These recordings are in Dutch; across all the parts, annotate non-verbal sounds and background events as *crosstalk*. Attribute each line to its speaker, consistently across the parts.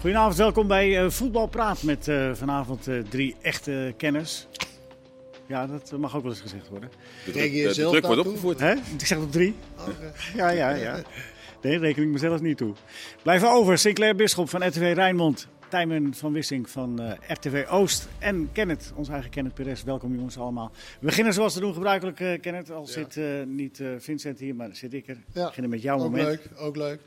Speaker 1: Goedenavond, welkom bij eh, Voetbal Praat met eh, vanavond eh, drie echte kenners. Ja, dat mag ook wel eens gezegd worden.
Speaker 2: De,
Speaker 3: Tegen
Speaker 2: druk- de
Speaker 3: jezelf
Speaker 2: druk wordt
Speaker 3: naartoe?
Speaker 2: opgevoerd.
Speaker 1: Hè? Ik zeg het op drie.
Speaker 3: Oké.
Speaker 1: Ja, ja, ja. Nee, reken ik mezelf niet toe. Blijven over Sinclair Bisschop van RTV Rijnmond. Tijmen van Wissing van eh, RTV Oost. En Kenneth, ons eigen Kenneth Perez. Welkom jongens allemaal. We beginnen zoals te doen gebruikelijk, eh, Kenneth. Al zit eh, niet eh, Vincent hier, maar zit ik er. We
Speaker 3: Ja,
Speaker 1: beginnen met jouw
Speaker 3: ook
Speaker 1: moment.
Speaker 3: leuk, ook leuk.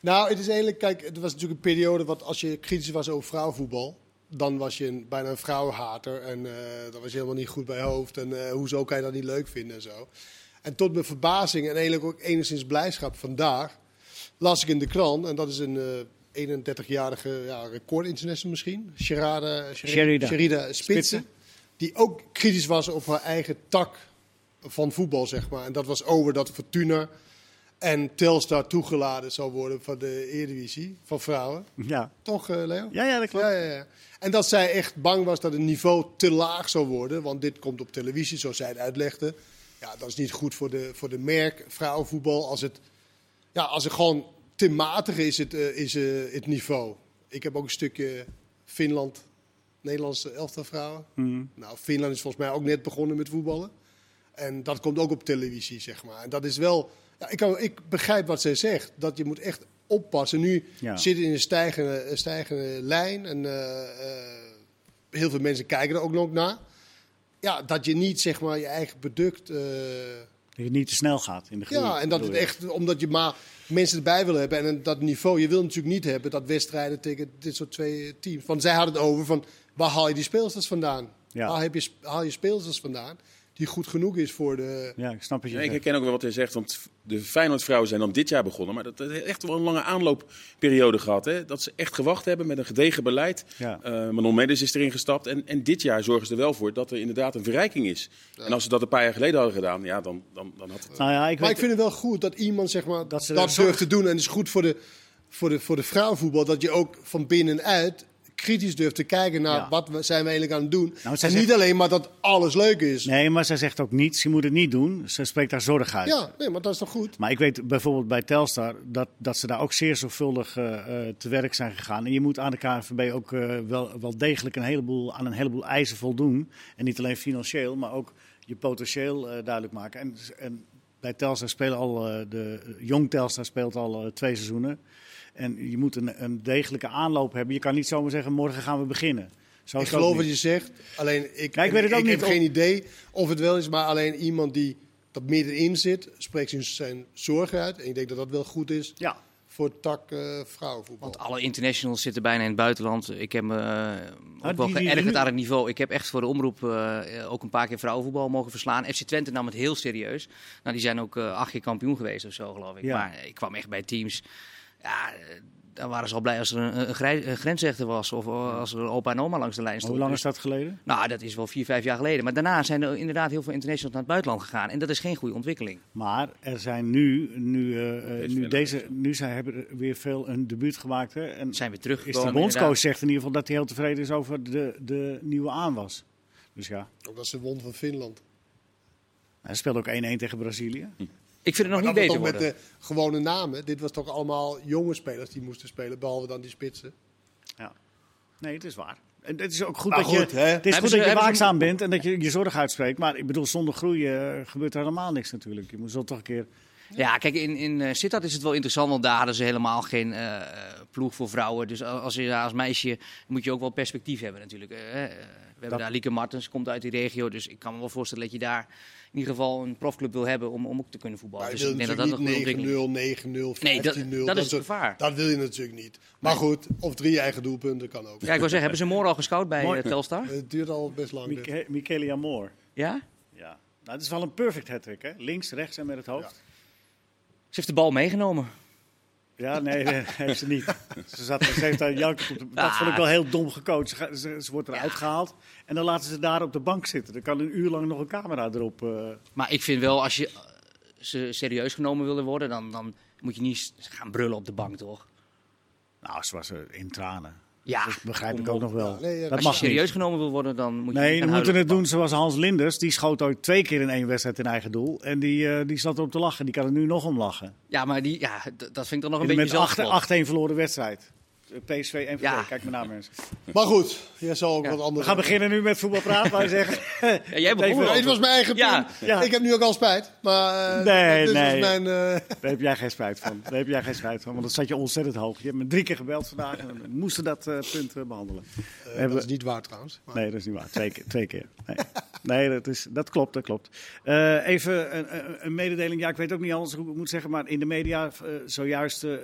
Speaker 3: Nou, het is eigenlijk, kijk, het was natuurlijk een periode wat als je kritisch was over vrouwenvoetbal, dan was je een, bijna een vrouwenhater en eh dan was je helemaal niet goed bij je hoofd en eh, hoezo kan je dat niet leuk vinden en zo. En tot mijn verbazing en eigenlijk ook enigszins blijdschap vandaag las ik in de krant en dat is een eh, 31-jarige ja, recordinternational misschien, Sherida,
Speaker 1: Sherida.
Speaker 3: Sherida Spitsen,
Speaker 1: Spitsen.
Speaker 3: die ook kritisch was op haar eigen tak van voetbal, zeg maar. En dat was over dat Fortuna en Telstar toegeladen zou worden van de Eredivisie van vrouwen.
Speaker 1: Ja.
Speaker 3: Toch, eh, Leo?
Speaker 1: Ja, ja, dat klopt.
Speaker 3: Ja, ja, ja. En dat zij echt bang was dat het niveau te laag zou worden. Want dit komt op televisie, zoals zij het uitlegde. Ja, dat is niet goed voor de, voor de merk vrouwenvoetbal. Als het, ja, als het gewoon te matig is, het, eh, is eh, het niveau. Ik heb ook een stukje Finland, Nederlandse elftal vrouwen. Nou, Finland is volgens mij ook net begonnen met voetballen. En dat komt ook op televisie, zeg maar. En dat is wel... Ja, ik, kan, ik begrijp wat zij zegt. Dat je moet echt oppassen. Nu
Speaker 1: Ja.
Speaker 3: zit het in een stijgende, een stijgende lijn. En eh, eh, heel veel mensen kijken er ook nog naar. Ja, dat je niet, zeg maar, je eigen product... eh,
Speaker 1: Dat het niet te snel gaat in de groei.
Speaker 3: ja, en dat het
Speaker 1: bedoel je.
Speaker 3: echt... Omdat je maar mensen erbij wil hebben. En een- dat niveau. Je wil natuurlijk niet hebben dat wedstrijden tegen dit soort twee teams. Want zij hadden het over van... Waar haal je die speelsters vandaan?
Speaker 1: Ja.
Speaker 3: Waar heb je, sp- haal je speelsters vandaan? Die goed genoeg is voor de...
Speaker 1: Ja, ik snap het je.
Speaker 2: Ja, ik
Speaker 1: zegt.
Speaker 2: herken ook wel wat hij zegt, want de Feyenoordvrouwen zijn dan dit jaar begonnen. Maar dat dat heeft echt wel een lange aanloopperiode gehad. Hè? Dat ze echt gewacht hebben met een gedegen beleid.
Speaker 1: Ja.
Speaker 2: Eh, Manon Mendes is erin gestapt. En, en dit jaar zorgen ze er wel voor dat er inderdaad een verrijking is. En als ze dat een paar jaar geleden hadden gedaan, ja, dan, dan, dan had het...
Speaker 1: Nou ja, ik
Speaker 3: Maar
Speaker 1: weet-
Speaker 3: ik vind het wel goed dat iemand zeg maar,
Speaker 1: Dat
Speaker 3: dat,
Speaker 1: ze er
Speaker 3: durft te doen. En het is goed voor de, voor, de, voor de vrouwenvoetbal dat je ook van binnenuit kritisch durft te kijken naar
Speaker 1: Ja. Nou,
Speaker 3: wat we, zijn we eigenlijk aan het doen.
Speaker 1: zij
Speaker 3: en
Speaker 1: zegt-
Speaker 3: niet alleen maar dat alles leuk is.
Speaker 1: Nee, maar zij zegt ook niets. Ze moet het niet doen. Ze spreekt daar zorg uit.
Speaker 3: Ja, nee, maar dat is toch goed?
Speaker 1: Maar ik weet bijvoorbeeld bij Telstar dat, dat ze daar ook zeer zorgvuldig eh, eh, te werk zijn gegaan. En je moet aan de KNVB ook eh, wel, wel degelijk een heleboel, aan een heleboel eisen voldoen. En niet alleen financieel, maar ook je potentieel eh, duidelijk maken. En, en bij Telstar spelen al, eh, de jong Telstar speelt al eh, twee seizoenen. En je moet een, een degelijke aanloop hebben. Je kan niet zomaar zeggen, morgen gaan we beginnen. Zo
Speaker 3: Ik
Speaker 1: is het ook
Speaker 3: geloof wat
Speaker 1: niet.
Speaker 3: je zegt. Alleen ik,
Speaker 1: Ja, ik weet het ook
Speaker 3: ik
Speaker 1: niet
Speaker 3: heb
Speaker 1: of-
Speaker 3: geen idee of het wel is, maar alleen iemand die dat middenin zit, spreekt zijn- zijn zorgen uit. En ik denk dat dat wel goed is
Speaker 1: Ja,
Speaker 3: voor het tak eh, vrouwenvoetbal.
Speaker 4: Want alle internationals zitten bijna in het buitenland. Ik heb me eh,
Speaker 1: die-
Speaker 4: ook wel
Speaker 1: die-
Speaker 4: geërgerd
Speaker 1: die-
Speaker 4: aan het niveau. Ik heb echt voor de omroep eh, eh, ook een paar keer vrouwenvoetbal mogen verslaan. FC Twente nam het heel serieus. Nou, die zijn ook eh, acht keer kampioen geweest of zo, geloof ik.
Speaker 1: Ja.
Speaker 4: Maar eh, ik kwam echt bij teams. Ja, eh, dan waren ze al blij als er een, een, grij- een grensrechter was. Of eh, als er een opa en oma langs de lijn stond.
Speaker 1: hoe lang
Speaker 4: Dus-
Speaker 1: is dat geleden?
Speaker 4: Nou, dat is wel vier, vijf jaar geleden. Maar daarna zijn er inderdaad heel veel internationals naar het buitenland gegaan. En dat is geen goede ontwikkeling.
Speaker 1: Maar er zijn nu, nu, eh, eh,
Speaker 2: Deze
Speaker 1: nu,
Speaker 2: winnaar
Speaker 1: deze,
Speaker 2: is,
Speaker 1: nu zijn, hebben er weer veel een debuut gemaakt. Hè? En
Speaker 4: Ze zijn weer
Speaker 1: is de
Speaker 4: teruggekomen.
Speaker 1: bondscoach
Speaker 4: inderdaad.
Speaker 1: zegt in ieder geval dat hij heel tevreden is over de, de nieuwe aanwas. Dus ja,
Speaker 3: Omdat ze won van Finland.
Speaker 1: hij speelde ook 1-1 tegen Brazilië.
Speaker 4: Hm. Ik vind het nog
Speaker 3: Maar
Speaker 4: niet
Speaker 3: dat was
Speaker 4: beter
Speaker 3: toch met
Speaker 4: worden.
Speaker 3: de gewone namen. Dit was toch allemaal jonge spelers die moesten spelen, behalve dan die spitsen.
Speaker 1: Ja. Nee, het is waar. En het is ook goed
Speaker 3: Maar
Speaker 1: dat
Speaker 3: goed,
Speaker 1: je,
Speaker 3: hè?
Speaker 1: het is
Speaker 4: Hebben
Speaker 1: goed
Speaker 4: ze-
Speaker 1: dat je
Speaker 4: hebben ze-
Speaker 1: waakzaam bent en dat je je zorg uitspreekt. Maar ik bedoel, zonder groei eh, gebeurt er helemaal niks natuurlijk. Je moet zo toch een keer...
Speaker 4: Ja, kijk, in, in eh, Sittard is het wel interessant, want daar hadden ze helemaal geen eh, ploeg voor vrouwen. Dus a- als je daar als meisje moet je ook wel perspectief hebben natuurlijk. eh, eh, we
Speaker 1: Dat-
Speaker 4: hebben daar Lieke Martens, komt uit die regio, dus ik kan me wel voorstellen dat je daar in ieder geval een profclub wil hebben om, om ook te kunnen voetballen.
Speaker 3: Maar je
Speaker 4: Dus
Speaker 3: wil
Speaker 4: ik denk dat dat een goede
Speaker 3: natuurlijk
Speaker 4: ontwikkeling
Speaker 3: niet
Speaker 4: is.
Speaker 3: 9-0, 9-0, 15-0.
Speaker 4: Nee, dat- dat is het
Speaker 3: soort-
Speaker 4: gevaar.
Speaker 3: Dat wil je natuurlijk niet. Maar goed, of drie eigen doelpunten kan ook.
Speaker 4: Ja, ik wil zeggen, hebben ze Moor al gescout bij
Speaker 1: Mooi.
Speaker 4: eh, Telstar?
Speaker 3: Het duurt al best lang. dit.
Speaker 1: Miche- Michele Amor.
Speaker 4: Ja?
Speaker 1: Ja. Nou, het is wel een perfect hat-trick, hè? Links, rechts en met het hoofd.
Speaker 4: Ze heeft de bal meegenomen.
Speaker 1: Ja, nee,
Speaker 4: *laughs*
Speaker 1: dat heeft ze niet. Ze zat ze heeft daar janken. op de- Dat
Speaker 4: Ah.
Speaker 1: vond ik wel heel dom gecoacht. Ze, ga- ze, ze wordt eruit gehaald en dan laten ze daar op de bank zitten. Dan kan een uur lang nog een camera erop. eh.
Speaker 4: Maar ik vind wel, als je eh, ze serieus genomen willen worden, dan, dan moet je niet s- gaan brullen op de bank, toch?
Speaker 1: Nou, ze was eh, in tranen.
Speaker 4: Ja,
Speaker 1: Dat begrijp
Speaker 4: kom
Speaker 1: ik ook
Speaker 4: op.
Speaker 1: nog wel.
Speaker 3: Nee, ja,
Speaker 1: dat
Speaker 4: Als je
Speaker 1: mag
Speaker 4: serieus
Speaker 1: niet.
Speaker 4: genomen wil worden, dan moet je
Speaker 1: Nee,
Speaker 4: niet
Speaker 1: we moeten
Speaker 4: gaan huilen
Speaker 1: het
Speaker 4: op de
Speaker 1: doen zoals Hans Linders. Die schoot ooit twee keer in één wedstrijd in eigen doel. En die, eh, die zat erop te lachen. Die kan er nu nog om lachen.
Speaker 4: Ja, maar die, ja, d- dat vind ik dan nog een
Speaker 1: met
Speaker 4: beetje zelfspot.
Speaker 1: 8-1 verloren wedstrijd. Eh, PSV en
Speaker 4: Ja.
Speaker 1: Kijk maar naar mensen.
Speaker 3: Maar goed, jij zal ook
Speaker 4: Ja.
Speaker 3: wat
Speaker 1: We
Speaker 3: anders.
Speaker 1: gaan beginnen nu met voetbal praten, maar zeggen.
Speaker 4: Ja, jij begon
Speaker 1: Even-
Speaker 4: wel.
Speaker 3: Ja, het was mijn eigen
Speaker 4: Ja.
Speaker 3: plan.
Speaker 1: Ja.
Speaker 3: Ik heb nu ook al spijt. Maar eh,
Speaker 1: Nee,
Speaker 3: dit
Speaker 1: nee.
Speaker 3: was mijn. eh,
Speaker 1: Daar heb jij geen spijt van. Daar heb jij geen spijt van, want dat zat je ontzettend hoog. Je hebt me drie keer gebeld vandaag en we moesten dat eh, punt eh, behandelen. We hebben-
Speaker 3: dat is niet waar trouwens. Maar
Speaker 1: Nee, dat is niet waar. Twee keer. Twee keer. Nee, nee dat, is, dat klopt, dat klopt. Eh, even een, een- een mededeling. Ja, ik weet ook niet anders hoe ik het moet zeggen, maar in de media eh, zojuist eh, eh,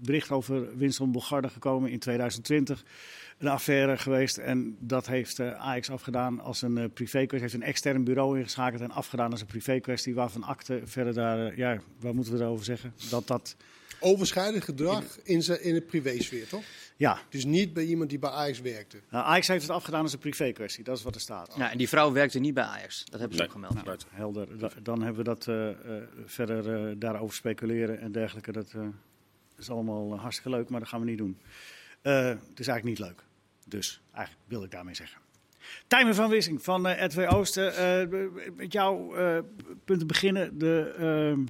Speaker 1: bericht over Winston Bogarde gekomen in 2020. Een affaire geweest en dat heeft eh Ajax afgedaan als een eh, privékwestie. Heeft een extern bureau ingeschakeld en afgedaan als een privékwestie. Waarvan akte verder daar, eh, ja, waar moeten we erover zeggen? Dat dat,
Speaker 3: overschrijdend gedrag in, zijn, in de privésfeer, toch?
Speaker 1: ja.
Speaker 3: Dus niet bij iemand die bij Ajax werkte.
Speaker 1: Nou, Ajax heeft het afgedaan als een privékwestie. Dat is wat er staat.
Speaker 4: Ja, en die vrouw werkte niet bij Ajax. Dat hebben ze
Speaker 2: Nee.
Speaker 4: ook gemeld.
Speaker 2: Buiten.
Speaker 1: Helder. Da- Dan hebben we dat eh, eh, verder eh, daarover speculeren en dergelijke. Dat eh, is allemaal eh, hartstikke leuk, maar dat gaan we niet doen. Eh, het is eigenlijk niet leuk. Dus eigenlijk wil ik daarmee zeggen. Tijmen van Wissing van eh RTW Oosten. eh, met jouw eh, punten beginnen. De eh,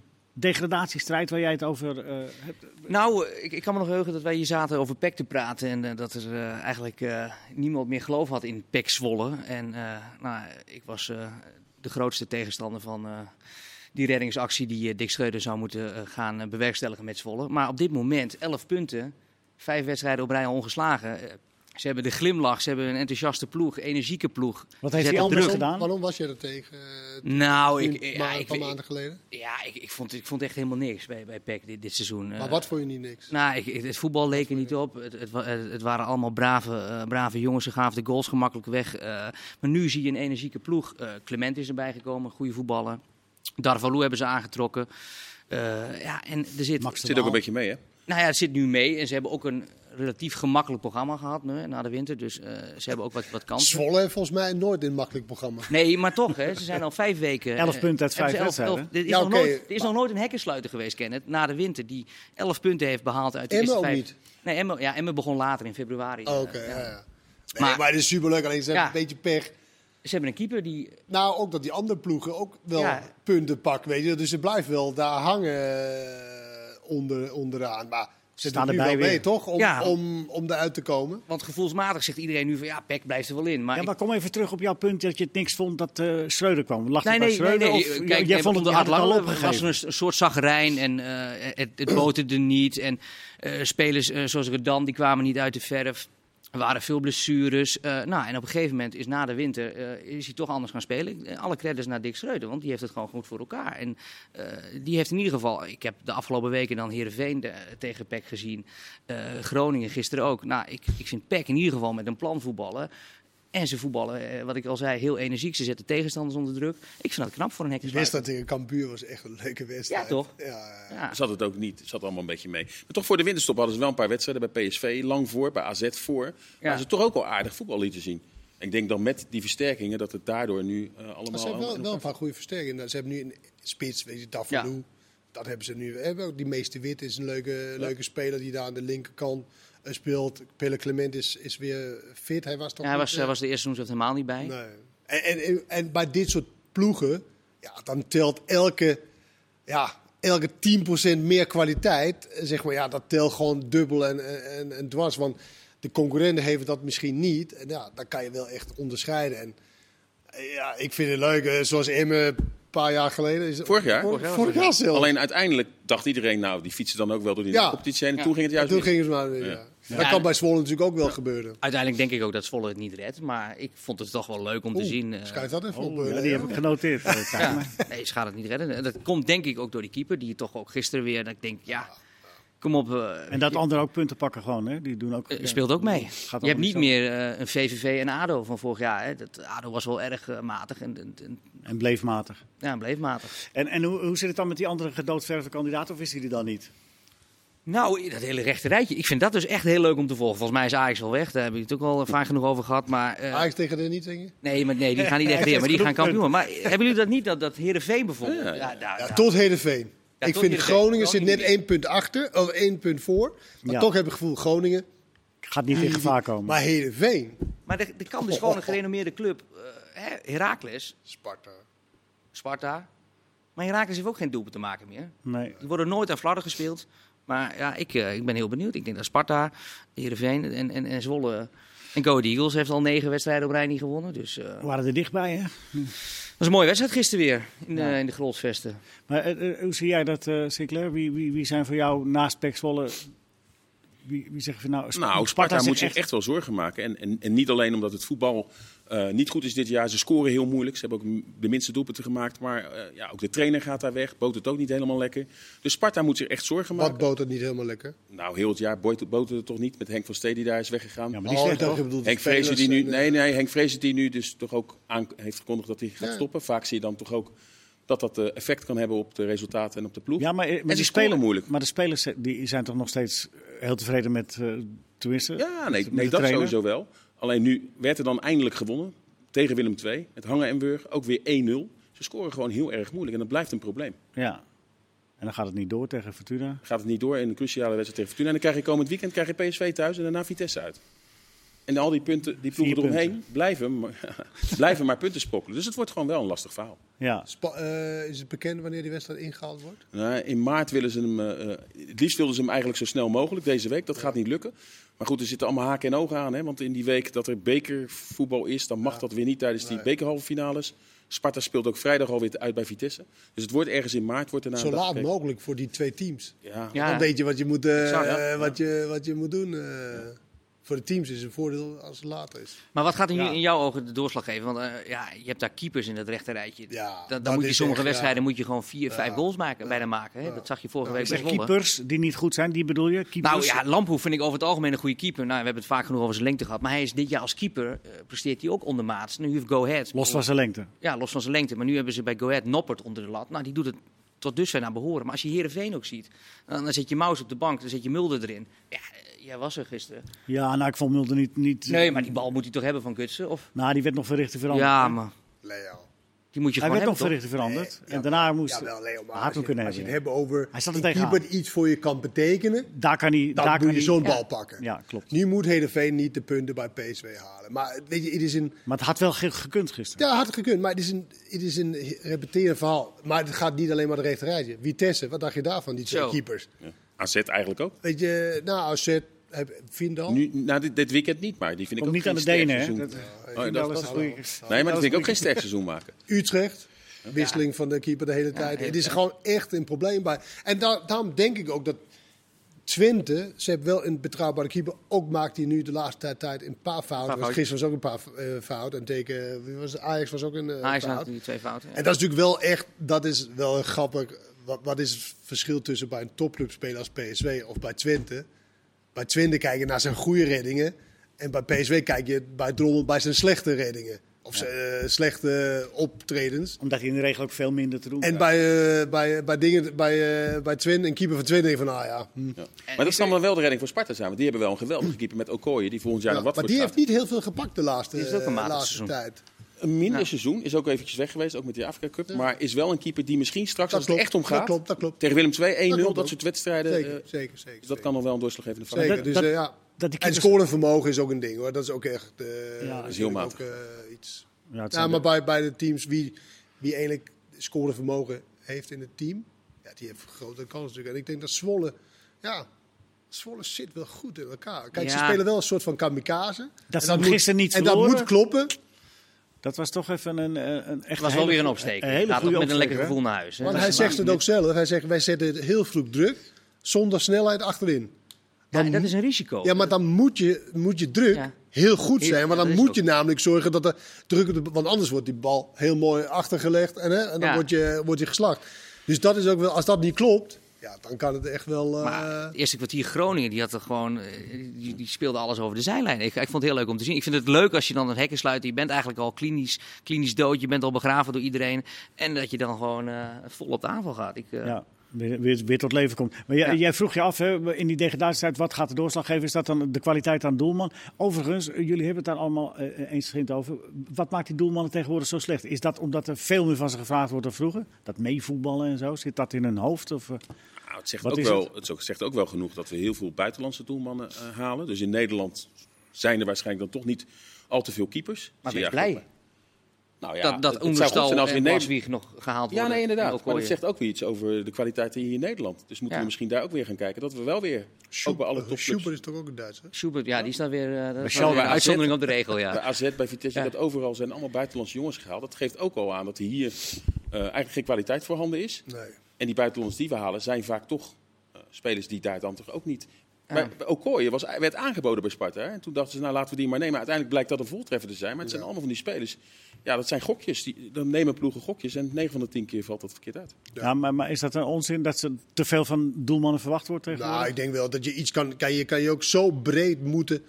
Speaker 1: degradatiestrijd waar jij het over eh, hebt.
Speaker 4: Nou, eh, ik, ik kan me nog heugen dat wij hier zaten over PEC te praten. En eh, dat er eh, eigenlijk eh, niemand meer geloof had in PEC Zwolle. En eh, nou, ik was eh, de grootste tegenstander van eh, die reddingsactie die eh, Dick Schreuder zou moeten eh, gaan eh, bewerkstelligen met Zwolle. Maar op dit moment 11 punten, vijf wedstrijden op rij al ongeslagen. Eh, ze hebben de glimlach, ze hebben een enthousiaste ploeg, energieke ploeg.
Speaker 1: Wat
Speaker 4: Ze
Speaker 1: heeft hij
Speaker 4: zetten
Speaker 1: anders
Speaker 4: druk.
Speaker 1: gedaan?
Speaker 3: Waarom was jij er tegen? eh,
Speaker 4: Nou,
Speaker 3: toen-
Speaker 4: ik, eh,
Speaker 3: maar
Speaker 4: ja,
Speaker 3: een
Speaker 4: ik,
Speaker 3: paar
Speaker 4: ik-
Speaker 3: maanden geleden.
Speaker 4: ja, ik, ik, vond, ik vond echt helemaal niks bij, bij PEC dit, dit seizoen.
Speaker 3: Maar
Speaker 4: Eh,
Speaker 3: wat vond je niet niks?
Speaker 4: nou, ik- ik- het voetbal leek er niet op. Het, het, wa- het- het waren allemaal brave, eh, brave jongens. Ze gaven de goals gemakkelijk weg. Eh, maar nu zie je een energieke ploeg. Eh, Clement is erbij gekomen, goede voetballer. Darvalu hebben ze aangetrokken. Eh, ja, en er zit,
Speaker 1: Max de
Speaker 2: Zit ook
Speaker 1: Waal.
Speaker 2: een beetje mee, hè?
Speaker 4: nou ja, het zit nu mee. En ze hebben ook een relatief gemakkelijk programma gehad nu, hè, na de winter. Dus eh, ze hebben ook wat, wat kansen.
Speaker 3: Zwolle heeft volgens mij nooit een makkelijk programma.
Speaker 4: Nee, maar toch, hè, ze zijn al vijf weken.
Speaker 1: Elf
Speaker 4: eh,
Speaker 1: punten uit
Speaker 4: hebben
Speaker 1: vijf
Speaker 4: ze elf-
Speaker 1: wedstrijden.
Speaker 4: elf- Er is,
Speaker 3: Ja,
Speaker 4: nog,
Speaker 3: oké,
Speaker 4: nooit, er is
Speaker 3: maar-
Speaker 4: nog nooit een hekkensluiter geweest, Kenneth, na de winter. Die elf punten heeft behaald uit de
Speaker 3: Emmen
Speaker 4: eerste
Speaker 3: ook
Speaker 4: vijf.
Speaker 3: niet?
Speaker 4: Nee, Emmen, ja, Emmen begon later in februari.
Speaker 3: Oh,
Speaker 4: Eh,
Speaker 3: Oké,
Speaker 4: ja.
Speaker 3: ja, ja. Nee,
Speaker 4: Maar-
Speaker 3: maar, het is superleuk, alleen ze hebben
Speaker 4: Ja.
Speaker 3: een beetje pech.
Speaker 4: Ze hebben een keeper die...
Speaker 3: Nou, ook dat die andere ploegen ook wel
Speaker 4: Ja.
Speaker 3: punten pakken, weet je. Dus ze blijft wel daar hangen eh, onder, onderaan. Maar ze
Speaker 1: Staan
Speaker 3: staan er nu
Speaker 1: erbij
Speaker 3: wel mee,
Speaker 1: weer.
Speaker 3: toch? Om,
Speaker 4: Ja.
Speaker 3: om, om eruit te komen.
Speaker 4: Want gevoelsmatig zegt iedereen nu van ja, Peck blijft er wel in. Maar
Speaker 1: Ja,
Speaker 4: ik-
Speaker 1: maar kom even terug op jouw punt dat je het niks vond dat eh Schreuder kwam. Lag
Speaker 4: Nee,
Speaker 1: het bij
Speaker 4: nee, nee,
Speaker 1: Schreuder?
Speaker 4: nee.
Speaker 1: Of,
Speaker 4: Kijk,
Speaker 1: jij vond het,
Speaker 4: onder
Speaker 1: je had het al
Speaker 4: Adlan
Speaker 1: opgegeven.
Speaker 4: was er een s- een soort zagrijn en eh, het, het boterde niet. En eh, spelers eh, zoals Redan, die kwamen niet uit de verf. Er waren veel blessures. Eh, nou, en op een gegeven moment is na de winter eh, is hij toch anders gaan spelen. Eh, Alle credits naar Dick Schreuder, want die heeft het gewoon goed voor elkaar. En eh, die heeft in ieder geval... Ik heb de afgelopen weken dan Heerenveen de, tegen PEC gezien. Eh, Groningen gisteren ook. Nou, ik, ik vind PEC in ieder geval met een plan voetballen. En ze voetballen, eh, wat ik al zei, heel energiek. Ze zetten tegenstanders onder druk. Ik vind dat knap voor een
Speaker 3: Die
Speaker 4: hekkersluiter.
Speaker 3: wedstrijd tegen Cambuur was echt een leuke wedstrijd.
Speaker 4: Ja, toch?
Speaker 3: Ja, ja.
Speaker 4: Ja.
Speaker 2: Zat het ook niet. Zat allemaal een beetje mee. Maar toch voor de winterstop hadden ze wel een paar wedstrijden bij PSV. Lang voor, bij AZ voor. Maar ze toch ook al aardig voetbal lieten zien. En ik denk dan met die versterkingen dat het daardoor nu eh, allemaal...
Speaker 3: Maar ze hebben
Speaker 2: aan-
Speaker 3: wel,
Speaker 2: aan-
Speaker 3: wel een paar goede versterkingen. Nou, Ze hebben nu een spits, weet je, Davolu. Dat hebben ze nu. We hebben ook die meeste wit is een leuke, leuke speler die daar aan de linkerkant eh, speelt. Pelle Clement is, is weer fit. Hij was toch
Speaker 4: Ja, hij
Speaker 3: niet,
Speaker 4: was,
Speaker 3: eh,
Speaker 4: hij was de eerste seizoen helemaal niet bij.
Speaker 3: Nee. En, en, en, en bij dit soort ploegen, ja, dan telt elke, ja, elke 10% meer kwaliteit. eh, Zeg maar, ja, dat telt gewoon dubbel en, en- en, en dwars. Want de concurrenten hebben dat misschien niet. En ja, dan kan je wel echt onderscheiden. En eh, ja, ik vind het leuk. eh, Zoals Emme een paar jaar geleden. Is het-
Speaker 2: Vorig jaar?
Speaker 3: Vorig, vorig jaar zelf.
Speaker 2: Alleen uiteindelijk dacht iedereen, nou, die fietsen dan ook wel door die
Speaker 3: Ja.
Speaker 2: competitie heen. En
Speaker 4: Ja.
Speaker 2: toen ging het
Speaker 3: Ja,
Speaker 2: juist
Speaker 3: toen
Speaker 2: mis.
Speaker 3: gingen ze maar weer.
Speaker 2: Ja.
Speaker 3: ja. Dat kan bij Zwolle natuurlijk ook wel gebeuren.
Speaker 4: Uiteindelijk denk ik ook dat Zwolle het niet redt. Maar ik vond het toch wel leuk om te
Speaker 3: Oeh,
Speaker 4: zien. eh,
Speaker 3: Schrijf dat even op.
Speaker 1: Oh,
Speaker 3: eh,
Speaker 1: ja, die
Speaker 3: Leo.
Speaker 1: heb ik genoteerd. *laughs* eh, Tijmen.
Speaker 4: *laughs* nee, ze gaat het niet redden. En Dat komt denk ik ook door die keeper. Die toch ook gisteren weer... Dat ik denk, ja, kom op. eh,
Speaker 1: En dat anderen ook punten pakken gewoon, hè? Die doen ook...
Speaker 4: eh,
Speaker 1: ja,
Speaker 4: speelt ook mee.
Speaker 1: gaat
Speaker 4: Je hebt
Speaker 1: allemaal
Speaker 4: niet
Speaker 1: zo.
Speaker 4: meer eh, een VVV en ADO van vorig jaar. Hè. Dat, ADO was wel erg eh, matig en, en, en-
Speaker 1: En bleef matig.
Speaker 4: ja, bleef matig.
Speaker 1: En, en hoe, hoe zit het dan met die andere gedoodverfde kandidaat? Of is die er dan niet?
Speaker 4: Nou, dat hele rechte rijtje. Ik vind dat dus echt heel leuk om te volgen. Volgens mij is Ajax al weg. Daar hebben we het ook al eh, vaak genoeg over gehad. Maar, eh,
Speaker 3: Ajax tegen de niet, denk je?
Speaker 4: nee, maar nee, die gaan niet
Speaker 1: *laughs* Hij
Speaker 4: echt weer. Maar die
Speaker 1: heeft
Speaker 4: gaan
Speaker 1: genoeg
Speaker 4: kampioen. worden. Maar hebben jullie dat niet? Dat, dat Heerenveen bijvoorbeeld.
Speaker 2: Ja,
Speaker 4: Ja,
Speaker 2: ja.
Speaker 4: daar-
Speaker 3: Ja,
Speaker 4: daar-
Speaker 3: tot Heerenveen.
Speaker 4: Ja,
Speaker 3: ik
Speaker 4: tot
Speaker 3: vind
Speaker 4: Heerenveen.
Speaker 3: Groningen zit net
Speaker 4: Groningen.
Speaker 3: één punt achter, of één punt voor. Maar
Speaker 1: Ja.
Speaker 3: toch heb ik het gevoel, Groningen.
Speaker 1: Gaat niet in gevaar komen.
Speaker 3: Maar Heerenveen,
Speaker 4: Maar er, er kan dus gewoon een gerenommeerde club. eh, hè, Heracles,
Speaker 3: Sparta.
Speaker 4: Sparta. Maar Heracles heeft ook geen doelpunt te maken meer.
Speaker 1: Nee.
Speaker 4: Die worden nooit aan flarden gespeeld. Maar ja, ik, eh, ik ben heel benieuwd. Ik denk dat Sparta, Heerenveen en, en, en Zwolle... En Go Ahead Eagles heeft al negen wedstrijden op rij niet gewonnen. Dus eh,
Speaker 1: We waren er dichtbij, hè?
Speaker 4: dat was een mooie wedstrijd gisteren weer in de, in de Grolsvesten.
Speaker 1: Maar eh, eh, hoe zie jij dat, eh Sinclair? Wie, wie, wie zijn voor jou naast Pek Zwolle... Wie, wie zeggen van nou... Sp-
Speaker 2: Nou, Sparta
Speaker 1: zit
Speaker 2: moet zich echt wel zorgen maken. En, en, en niet alleen omdat het voetbal eh, niet goed is dit jaar. Ze scoren heel moeilijk. Ze hebben ook m- de minste doelpunten gemaakt. Maar eh, ja, ook de trainer gaat daar weg. Boot het ook niet helemaal lekker. Dus Sparta moet zich echt zorgen
Speaker 3: Wat
Speaker 2: maken.
Speaker 3: boot het niet helemaal lekker?
Speaker 2: Nou, heel het jaar boot boot het toch niet. Met Henk van Stee die daar is weggegaan.
Speaker 1: Ja, maar die is
Speaker 3: Oh, ik
Speaker 1: echt
Speaker 3: dacht,
Speaker 1: toch?
Speaker 3: je bedoelt de
Speaker 2: Henk Vrezen die nu,
Speaker 3: spelers en, eh,
Speaker 2: nee, nee, Henk Vrezen die nu dus toch ook aan heeft verkondigd dat hij gaat
Speaker 3: Ja.
Speaker 2: stoppen. Vaak zie je dan toch ook dat dat eh, effect kan hebben op de resultaten en op de ploeg.
Speaker 1: Ja, maar, eh, maar
Speaker 2: en
Speaker 1: die
Speaker 2: ze spelen
Speaker 1: spelers,
Speaker 2: moeilijk.
Speaker 1: maar de spelers eh, die zijn toch nog steeds eh, heel tevreden met... eh tenminste,
Speaker 2: Ja, nee,
Speaker 1: met
Speaker 2: nee
Speaker 1: de
Speaker 2: dat
Speaker 1: trainer?
Speaker 2: sowieso wel. Alleen nu werd er dan eindelijk gewonnen tegen Willem II. Het Hangen en Burg, ook weer 1-0. Ze scoren gewoon heel erg moeilijk en dat blijft een probleem.
Speaker 1: Ja. En dan gaat het niet door tegen Fortuna.
Speaker 2: Dan gaat het niet door in de cruciale wedstrijd tegen Fortuna. En dan krijg je komend weekend krijg je PSV thuis en daarna Vitesse uit. En al die punten, die ploegen
Speaker 1: punten.
Speaker 2: eromheen, blijven, maar- *laughs* blijven maar punten spokkelen. Dus het wordt gewoon wel een lastig verhaal.
Speaker 1: Ja.
Speaker 3: Spa- eh, is het bekend wanneer die wedstrijd ingehaald wordt?
Speaker 2: Nou, in maart willen ze hem. eh, eh, het liefst wilden ze hem eigenlijk zo snel mogelijk deze week. Dat gaat niet lukken. Maar goed, er zitten allemaal haken en ogen aan. Hè? Want in die week dat er bekervoetbal is, dan mag dat weer niet tijdens die bekerhalve finales. Sparta speelt ook vrijdag alweer uit bij Vitesse. Dus het wordt ergens in maart. Wordt er
Speaker 3: Zo laat mogelijk voor die twee teams.
Speaker 2: Ja.
Speaker 4: Ja.
Speaker 3: Dan weet je wat je moet, eh,
Speaker 4: Exact, ja.
Speaker 3: eh, wat je, wat je moet doen. eh. Voor de teams is het een voordeel als het laat is.
Speaker 4: Maar wat gaat in,
Speaker 1: Ja.
Speaker 4: in jouw ogen de doorslag geven? Want eh, ja, je hebt daar keepers in dat rechterrijtje.
Speaker 3: Ja,
Speaker 4: dan dan
Speaker 3: dat
Speaker 4: moet je
Speaker 3: is
Speaker 4: sommige
Speaker 3: echt,
Speaker 4: wedstrijden
Speaker 3: ja.
Speaker 4: moet je gewoon vier, vijf
Speaker 3: Ja.
Speaker 4: goals maken, bijna maken. Hè? Dat zag je vorige week bij
Speaker 1: Zeg,
Speaker 4: Zwolle.
Speaker 1: keepers die niet goed zijn, die bedoel je? Keepers?
Speaker 4: Nou ja, Lamproe vind ik over het algemeen een goede keeper. Nou, we hebben het vaak genoeg over zijn lengte gehad. Maar hij is dit jaar als keeper, eh, presteert hij ook ondermaats. Nu heeft Go Ahead.
Speaker 1: Los van zijn lengte.
Speaker 4: Ja, los van zijn lengte. Maar nu hebben ze bij Go Ahead Noppert onder de lat. Nou, die doet het tot dusver naar behoren. Maar als je Heerenveen ook ziet, dan, dan zet je Maus op de bank, dan zet je Mulder erin. Ja, eh, jij was er gisteren.
Speaker 1: Ja, nou, ik vond Mulder niet... niet
Speaker 4: Nee, maar die bal moet hij toch hebben van Gutsen? Of?
Speaker 1: Nou, die werd nog verrichten veranderd.
Speaker 4: Ja,
Speaker 1: hè?
Speaker 4: maar
Speaker 3: Leo.
Speaker 4: die moet je
Speaker 1: Hij
Speaker 4: gewoon
Speaker 1: werd nog
Speaker 4: hebben,
Speaker 1: verrichten
Speaker 4: toch?
Speaker 1: veranderd.
Speaker 3: Nee, ja,
Speaker 1: en daarna moest...
Speaker 3: Ja, wel Leo, maar
Speaker 1: had
Speaker 3: als
Speaker 1: hem
Speaker 3: je,
Speaker 1: kunnen
Speaker 3: als je het
Speaker 1: hebben.
Speaker 3: hebt over
Speaker 1: Hij zat er
Speaker 3: een
Speaker 1: tegenaan.
Speaker 3: keeper die iets voor je kan betekenen,
Speaker 1: Daar kan hij...
Speaker 3: dan
Speaker 1: daar kan
Speaker 3: moet je
Speaker 1: hij-
Speaker 3: zo'n bal pakken.
Speaker 1: Ja, klopt.
Speaker 3: Nu moet Heerenveen niet de punten bij PSV halen. Maar weet je, het is een...
Speaker 1: Maar het had wel ge- gekund gisteren.
Speaker 3: Ja, had het gekund, maar het is een, het is een repeterend verhaal. Maar het gaat niet alleen maar de rechterrijtje. Vitesse, wat dacht je daarvan, die twee
Speaker 4: Zo.
Speaker 3: keepers?
Speaker 2: Ja. AZ eigenlijk ook.
Speaker 3: Weet je, nou, AZ, heb- Vindal.
Speaker 2: Nu, nou, dit, dit weekend niet, maar die vind ik
Speaker 1: Komt
Speaker 2: ook
Speaker 1: niet
Speaker 2: geen
Speaker 1: aan de
Speaker 2: sterk
Speaker 1: Denen, hè?
Speaker 2: seizoen.
Speaker 1: Dat-
Speaker 3: eh,
Speaker 2: Oh,
Speaker 1: Vind
Speaker 2: dat-
Speaker 1: wel eens
Speaker 3: wel.
Speaker 1: goeie-
Speaker 2: nee, maar dat
Speaker 1: wel
Speaker 2: vind ik ook
Speaker 1: eens
Speaker 2: geen sterk seizoen maken.
Speaker 3: Utrecht. Wisseling van de keeper de hele tijd.
Speaker 4: heel
Speaker 3: het is
Speaker 4: fijn.
Speaker 3: gewoon echt een probleem bij. En da- daarom denk ik ook dat Twente, ze hebben wel een betrouwbare keeper. Ook maakt hij nu de laatste tijd een paar fouten.
Speaker 4: Paar
Speaker 3: Want gisteren was ook een paar eh, fouten. En tegen wie was het? Ajax was ook een eh,
Speaker 4: Hij is
Speaker 3: fout.
Speaker 4: nou die twee fouten. ja.
Speaker 3: En dat is natuurlijk wel echt, dat is wel een grappig. Wat, wat is het verschil tussen bij een topclub spelen als PSV of bij Twente? Bij Twente kijk je naar zijn goede reddingen. En bij PSV kijk je bij Drommel bij zijn slechte reddingen. Of zijn, eh, slechte optredens.
Speaker 1: Omdat hij in de regel ook veel minder te doen
Speaker 3: En
Speaker 1: krijgt.
Speaker 3: bij, eh, bij, bij, dingen, bij, eh, bij Twente, een keeper van Twente denk je van, ah ja. hm.
Speaker 2: Ja. Maar dat kan dan wel de redding voor Sparta zijn. Want die hebben wel een geweldige keeper met Okoye, die volgend jaar
Speaker 3: Ja,
Speaker 2: naar wat
Speaker 3: maar
Speaker 2: voor
Speaker 3: die
Speaker 2: gaat.
Speaker 3: heeft niet heel veel gepakt de laatste,
Speaker 4: Die is ook een
Speaker 3: eh,
Speaker 4: matig
Speaker 3: laatste
Speaker 4: seizoen.
Speaker 3: tijd.
Speaker 2: Een minder seizoen. Is ook eventjes weg geweest, ook met die Afrika Cup. Maar is wel een keeper die misschien straks,
Speaker 3: Dat
Speaker 2: als
Speaker 3: klopt,
Speaker 2: het echt om
Speaker 3: dat
Speaker 2: gaat...
Speaker 3: klopt, dat klopt.
Speaker 2: Tegen Willem
Speaker 3: Dat
Speaker 2: II 1-0,
Speaker 3: klopt
Speaker 2: dat,
Speaker 3: ook.
Speaker 2: soort wedstrijden.
Speaker 3: Zeker,
Speaker 2: eh,
Speaker 3: zeker, zeker.
Speaker 2: dus dat kan nog wel een doorslaggevende factor
Speaker 3: Zeker,
Speaker 2: zijn.
Speaker 3: dus
Speaker 1: dat-
Speaker 3: eh, ja.
Speaker 1: dat die
Speaker 3: en
Speaker 1: keepers-
Speaker 3: scorenvermogen is ook een ding hoor. Dat is ook echt. eh,
Speaker 1: dat
Speaker 2: is heel
Speaker 3: natuurlijk
Speaker 2: matig.
Speaker 3: ook, eh, iets.
Speaker 1: Ja, het
Speaker 3: Ja,
Speaker 1: zijn
Speaker 3: maar
Speaker 1: de-
Speaker 3: bij, bij de teams wie, wie eigenlijk scorenvermogen heeft in het team, ja, die heeft grote kans natuurlijk. En ik denk dat Zwolle, ja, Zwolle zit wel goed in elkaar. Kijk, ze
Speaker 4: Ja.
Speaker 3: spelen wel een soort van kamikaze.
Speaker 1: Dat
Speaker 3: En
Speaker 1: ze hem gisteren
Speaker 3: moet,
Speaker 1: niet
Speaker 3: En dat
Speaker 1: verloren.
Speaker 3: moet kloppen.
Speaker 1: Dat was toch even een, een, een echt
Speaker 4: Het was
Speaker 1: hele
Speaker 4: wel weer een
Speaker 1: goe-
Speaker 4: opsteek.
Speaker 1: Een hele
Speaker 4: Laat
Speaker 1: goede
Speaker 4: ook met een
Speaker 1: opsteker,
Speaker 4: lekker
Speaker 1: hè?
Speaker 4: gevoel naar huis. hè.
Speaker 3: Want
Speaker 4: Dat
Speaker 3: hij
Speaker 4: is
Speaker 3: zegt
Speaker 4: waar.
Speaker 3: het ook zelf. Hij zegt, wij zetten het heel vroeg druk, zonder snelheid achterin.
Speaker 4: Ja, dat is een risico.
Speaker 3: Ja, maar dan moet je, moet je druk
Speaker 4: Ja.
Speaker 3: heel goed
Speaker 4: Heel-
Speaker 3: zijn. Maar
Speaker 4: dat
Speaker 3: dan
Speaker 4: is
Speaker 3: moet
Speaker 4: ook.
Speaker 3: je namelijk zorgen dat er druk op de... Want anders wordt die bal heel mooi achtergelegd en, hè, en dan
Speaker 4: Ja.
Speaker 3: word, je, word je geslacht. Dus dat is ook wel... Als dat niet klopt, ja, dan kan het echt wel... eh,
Speaker 4: Maar het eerste kwartier Groningen, die, had er gewoon, eh, die, die speelde alles over de zijlijn. Ik, ik vond het heel leuk om te zien. Ik vind het leuk als je dan een hekken sluit. Je bent eigenlijk al klinisch, klinisch dood. Je bent al begraven door iedereen. En dat je dan gewoon eh, vol op de aanval gaat. Ik, eh,
Speaker 1: Ja, weer, weer, weer tot leven komt. Maar jij,
Speaker 4: Ja.
Speaker 1: jij vroeg je af, hè, in die degradatietijd, wat gaat de doorslag geven? Is dat dan de kwaliteit aan doelman? Overigens, eh, jullie hebben het daar allemaal eh, eens geschikt over. Wat maakt die doelmannen tegenwoordig zo slecht? Is dat omdat er veel meer van ze gevraagd wordt dan vroeger? Dat meevoetballen en zo, zit dat in hun hoofd? Of, eh?
Speaker 2: Nou, het, zegt
Speaker 1: Wat
Speaker 2: ook
Speaker 1: is
Speaker 2: wel,
Speaker 1: het?
Speaker 2: het is- zegt ook wel genoeg dat we heel veel buitenlandse doelmannen eh, halen. Dus in Nederland zijn er waarschijnlijk dan toch niet al te veel keepers.
Speaker 4: maar
Speaker 2: Zie
Speaker 4: wees
Speaker 2: je
Speaker 4: blij.
Speaker 2: eigenlijk Nou ja, het
Speaker 4: dat dat
Speaker 2: zou goed zijn
Speaker 4: Oenerstal
Speaker 2: als we
Speaker 4: en
Speaker 2: in Nederland...
Speaker 4: Waswieg nog gehaald worden.
Speaker 2: Ja, nee,
Speaker 4: En
Speaker 2: inderdaad.
Speaker 4: ook
Speaker 2: Maar dat
Speaker 4: Ooyen.
Speaker 2: zegt ook weer iets over de kwaliteit hier in Nederland. Dus moeten
Speaker 4: Ja.
Speaker 2: we misschien daar ook weer gaan kijken. Dat we wel weer, ook bij alle
Speaker 3: Schubert
Speaker 2: topclubs...
Speaker 3: Schubert is toch ook een Duitser?
Speaker 4: Schubert, ja, die is dan weer eh, dat is
Speaker 1: Michel
Speaker 4: wel weer
Speaker 1: bij
Speaker 4: een
Speaker 2: AZ.
Speaker 4: uitzondering op de regel,
Speaker 1: *laughs*
Speaker 4: ja.
Speaker 2: Bij AZ, bij Vitesse,
Speaker 4: Ja.
Speaker 2: dat overal zijn allemaal buitenlandse jongens gehaald. Dat geeft ook al aan dat er hier eh, eigenlijk geen kwaliteit voorhanden is.
Speaker 3: Nee.
Speaker 2: En die buitenlanders die we halen zijn vaak toch eh, spelers die daar dan toch ook niet... Bij, bij Okoye was, werd aangeboden bij Sparta. hè. En toen dachten ze, nou laten we die maar nemen. Uiteindelijk blijkt dat een voltreffer te zijn. Maar het zijn
Speaker 3: Ja.
Speaker 2: allemaal van die spelers. Ja, dat zijn gokjes. Die, dan nemen ploegen gokjes. En 9 van de 10 keer valt dat verkeerd uit.
Speaker 1: Ja. maar, maar is dat een onzin dat ze te veel van doelmannen verwacht wordt tegenwoordig?
Speaker 3: Nou, ik denk wel dat je iets kan, kan, je, kan je ook zo breed moeten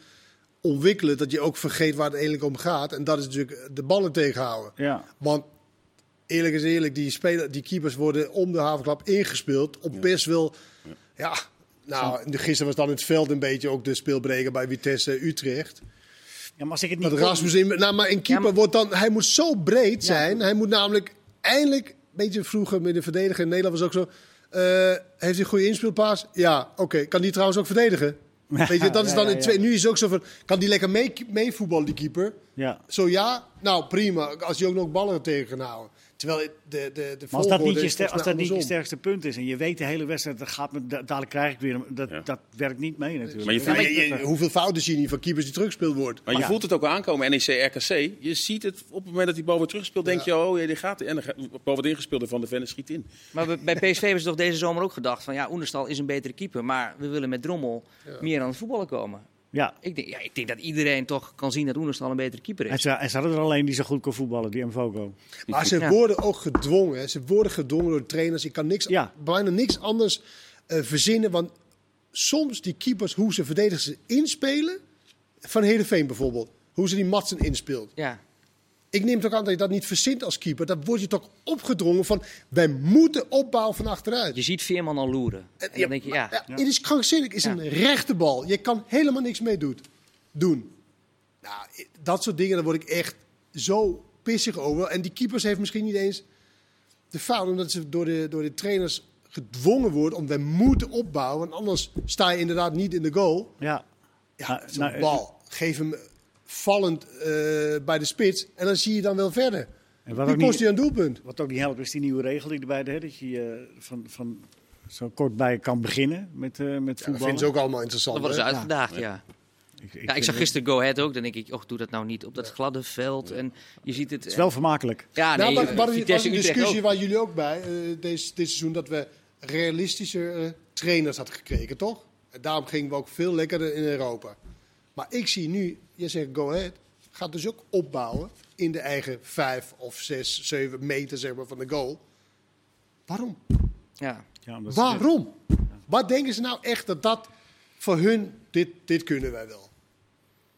Speaker 3: ontwikkelen dat je ook vergeet waar het eigenlijk om gaat. En dat is natuurlijk de ballen tegenhouden.
Speaker 1: Ja.
Speaker 3: Want eerlijk is eerlijk, die, speler, die keepers worden om de havenklap ingespeeld op best wel... Ja, nou, de- gisteren was dan in het veld een beetje ook de speelbreker bij Vitesse Utrecht.
Speaker 1: ja, maar als ik het niet
Speaker 3: Dat Rasmus in, nou, maar een keeper
Speaker 4: Ja, maar-
Speaker 3: wordt dan, hij moet zo breed zijn. Hij moet namelijk eindelijk, een beetje vroeger met de verdediger in Nederland was ook zo. eh, heeft hij een goede inspeelpaas? Ja, oké. Kan die trouwens ook verdedigen? Weet je, dat is
Speaker 1: *laughs* ja,
Speaker 3: dan
Speaker 1: ja,
Speaker 3: in twee, nu is het ook zo van, kan die lekker mee, meevoetballen, die keeper?
Speaker 1: Ja.
Speaker 3: Zo ja, nou prima, als hij ook nog ballen tegen kan houden. Terwijl de, de, de, de
Speaker 1: Maar als dat niet,
Speaker 3: volgorde
Speaker 1: je,
Speaker 3: is
Speaker 1: ster- als
Speaker 3: volgens
Speaker 1: dat
Speaker 3: mij
Speaker 1: niet je
Speaker 3: andersom.
Speaker 1: sterkste punt is en je weet de hele wedstrijd, dat gaat me, da- dadelijk krijg ik weer, een- dat,
Speaker 2: Ja.
Speaker 1: dat werkt niet mee natuurlijk.
Speaker 2: Maar je
Speaker 3: Ja,
Speaker 2: vindt-
Speaker 3: maar je- je- hoeveel fouten zie je niet van keepers die teruggespeeld wordt?
Speaker 2: Maar je
Speaker 1: Ja.
Speaker 2: voelt het ook aankomen, E NEC RKC. Je ziet het op het moment dat die bal wordt teruggespeeld, denk je, oh ja, die gaat. En dan gaat- de bal wordt ingespeeld en Van de Venne schiet in.
Speaker 4: Maar bij- bij PSV hebben ze toch deze zomer ook gedacht van ja, Oenerstal is een betere keeper, maar we willen met Drommel meer aan het voetballen komen.
Speaker 1: Ja,
Speaker 4: Ik denk, ja, ik denk dat iedereen toch kan zien dat Oenerstal een betere keeper
Speaker 1: en
Speaker 4: is.
Speaker 1: ze, en ze hadden er alleen die zo goed kon voetballen, die Mvoko.
Speaker 3: Maar ze
Speaker 4: Ja.
Speaker 3: worden ook gedwongen. hè. Ze worden gedwongen door de trainers. Ik kan niks,
Speaker 1: Ja.
Speaker 3: bijna niks anders eh, verzinnen. Want soms die keepers, hoe ze verdedigers inspelen. Van Heerenveen bijvoorbeeld. Hoe ze die Matsen inspeelt.
Speaker 4: Ja,
Speaker 3: Ik neem het ook aan dat je dat niet verzint als keeper. Dan word je toch opgedrongen van... wij moeten opbouwen van achteruit.
Speaker 4: je ziet Veerman al loeren. En dan denk je, ja,
Speaker 3: maar, Het is krankzinnig. Het is
Speaker 4: Ja.
Speaker 3: een rechte bal. Je kan helemaal niks mee doet- doen. Nou, i- dat soort dingen, daar word ik echt zo pissig over. En die keepers heeft misschien niet eens de fout... omdat ze door de, door de trainers gedwongen worden om... wij moeten opbouwen, want anders sta je inderdaad niet in de goal.
Speaker 1: Ja.
Speaker 3: Ja,
Speaker 1: Nou,
Speaker 3: zo'n
Speaker 4: eh,
Speaker 1: nou,
Speaker 3: bal. Geef hem vallend eh, bij de spits en dan zie je dan wel verder.
Speaker 1: En wat
Speaker 3: Die
Speaker 1: ook niet-
Speaker 3: kost je een doelpunt.
Speaker 1: Wat ook niet helpt is die nieuwe regel die erbij deed, dat je eh, van, van zo kort bij kan beginnen met, eh met
Speaker 3: Dat
Speaker 1: voetballen.
Speaker 3: vinden ze ook allemaal interessant.
Speaker 4: dan worden ze
Speaker 3: hè?
Speaker 4: uitgedaagd, ja.
Speaker 1: Ik, ik
Speaker 4: Ja, ik
Speaker 1: vind
Speaker 4: zag
Speaker 1: het
Speaker 4: gisteren Go Ahead ook, dan denk ik, och, doe dat nou niet op dat gladde veld. En je ziet het... eh,
Speaker 1: wel vermakelijk.
Speaker 4: Ja,
Speaker 3: Nou,
Speaker 4: nee,
Speaker 3: maar, maar er was
Speaker 4: Vitesse
Speaker 3: een
Speaker 4: Utrecht
Speaker 3: discussie
Speaker 4: ook.
Speaker 3: waar jullie ook bij eh, deze, dit seizoen dat we realistischer eh, trainers hadden gekregen, toch? En daarom gingen we ook veel lekkerder in Europa. Maar ik zie nu, je zegt go ahead, gaat dus ook opbouwen in de eigen vijf of zes, zeven meter zeg maar, van de goal. Waarom?
Speaker 4: Ja.
Speaker 1: Ja, omdat ze-
Speaker 3: Waarom? Wat denken ze nou echt dat dat voor hun, dit, dit kunnen wij wel?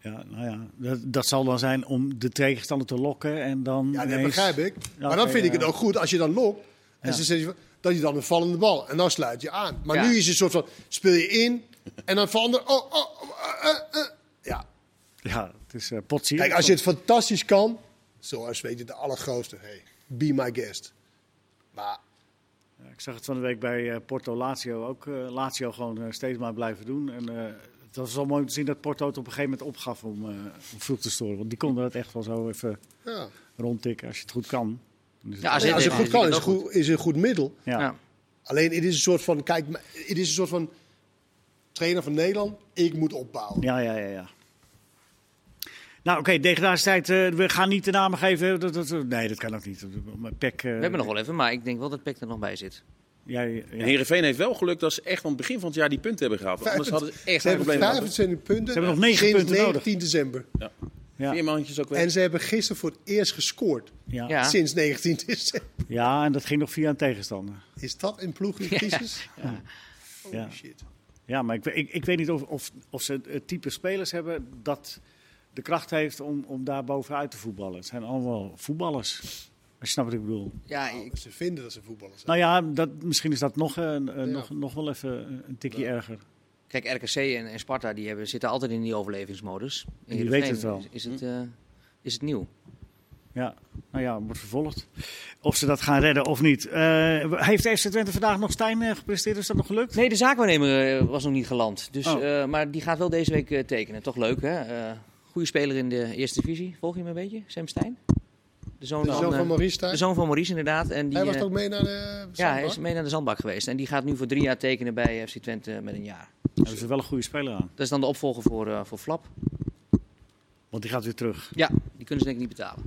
Speaker 1: Ja, nou ja, dat, dat zal dan zijn om de tegenstander te lokken en dan.
Speaker 3: Ja, dat
Speaker 1: ineens-
Speaker 3: begrijp ik.
Speaker 1: Ja,
Speaker 3: maar dan
Speaker 1: oké,
Speaker 3: vind ik
Speaker 1: ja.
Speaker 3: het ook goed als je dan lokt. En
Speaker 1: Ja.
Speaker 3: ze zeggen van, dat je dan een vallende bal. En dan sluit je aan. Maar
Speaker 4: Ja.
Speaker 3: nu is het een soort van speel je in en dan verander. Oh, oh, eh, eh, eh. Ja.
Speaker 1: Ja, het is eh potsie.
Speaker 3: Kijk, als je het fantastisch kan, zoals weet je de allergrootste. Hey, be my guest. Maar
Speaker 1: Ik zag het van de week bij eh, Porto Lazio ook. eh, Lazio gewoon eh, steeds maar blijven doen. En eh, het was wel mooi om te zien dat Porto het op een gegeven moment opgaf om, eh, om vroeg te storen. Want die konden dat echt wel zo even
Speaker 3: ja.
Speaker 1: rondtikken als je het goed kan. Dan is het-
Speaker 4: Ja,
Speaker 3: als je
Speaker 4: deed
Speaker 3: het goed
Speaker 4: dit
Speaker 3: kan,
Speaker 4: ook
Speaker 3: is het goed- is het een goed middel.
Speaker 1: ja.
Speaker 4: Ja.
Speaker 3: Alleen het is een soort van, kijk, het is een soort van trainer van Nederland. Ik moet opbouwen.
Speaker 1: Ja, ja, ja, ja. Nou, oké, degradatietijd. eh, we gaan niet de namen geven. Dat, dat, nee, dat kan ook niet. Maar Pek, eh,
Speaker 4: We hebben nog wel even, maar ik denk wel dat Peck er nog bij zit.
Speaker 1: Jij, ja.
Speaker 2: En Heerenveen heeft wel geluk dat ze echt aan het begin van het jaar die punten hebben gehaald. Want Anders hadden ze echt
Speaker 3: Ze
Speaker 2: een
Speaker 3: hebben
Speaker 2: probleem gehad.
Speaker 3: 25 punten.
Speaker 1: Ze hebben nog negen
Speaker 3: sinds
Speaker 1: punten nodig.
Speaker 3: 19 december.
Speaker 1: Ja.
Speaker 2: Vier maandjes ook
Speaker 3: En
Speaker 2: weg.
Speaker 3: ze hebben gisteren voor het eerst gescoord.
Speaker 1: Ja.
Speaker 4: Ja.
Speaker 1: Ja.
Speaker 3: Sinds 19 december.
Speaker 1: en dat ging nog via een tegenstander.
Speaker 3: Is dat een ploeg in crisis? Holy
Speaker 1: Ja.
Speaker 3: shit.
Speaker 1: Ja, maar ik, we- ik, ik weet niet of, of, of ze het eh, type spelers hebben dat de kracht heeft om, om daar bovenuit te voetballen. Het zijn allemaal voetballers. Als je snapt wat ik bedoel.
Speaker 4: Ja, ik-
Speaker 3: Nou, ze vinden dat ze voetballers zijn.
Speaker 1: Nou ja, dat, misschien is dat nog, eh, eh, nog,
Speaker 3: Ja.
Speaker 1: nog wel even eh, een tikje erger.
Speaker 4: Kijk, RKC en, en Sparta die hebben, zitten altijd in die overlevingsmodus. In
Speaker 1: die
Speaker 4: Heerenveen
Speaker 1: weten het wel.
Speaker 4: Is, is het,
Speaker 3: Hm.
Speaker 4: eh, is het nieuw?
Speaker 1: Ja, nou ja, wordt vervolgd. Of ze dat gaan redden of niet. Eh, heeft FC Twente vandaag nog Stijn eh, gepresteerd? Is dat nog gelukt?
Speaker 4: Nee, de zaakwaarnemer eh, was nog niet geland. Dus,
Speaker 1: Oh.
Speaker 4: eh, maar die gaat wel deze week eh, tekenen. Toch leuk, hè? Eh goede speler in de eerste divisie. Volg je hem een beetje, Sam Stein? De zoon,
Speaker 3: De
Speaker 4: van,
Speaker 3: zoon
Speaker 4: eh,
Speaker 3: van Maurice daar.
Speaker 4: de zoon van Maurice, inderdaad. En die,
Speaker 3: Hij was
Speaker 4: eh,
Speaker 3: ook mee naar de
Speaker 4: ja, hij
Speaker 3: zandbak?
Speaker 4: is mee naar de zandbak geweest. En die gaat nu voor drie jaar tekenen bij FC Twente met een jaar.
Speaker 1: Hebben ze wel een goede speler aan.
Speaker 4: Dat is dan de opvolger voor, eh, voor Flap.
Speaker 1: Want die gaat weer terug.
Speaker 4: Ja, die kunnen ze denk ik niet betalen.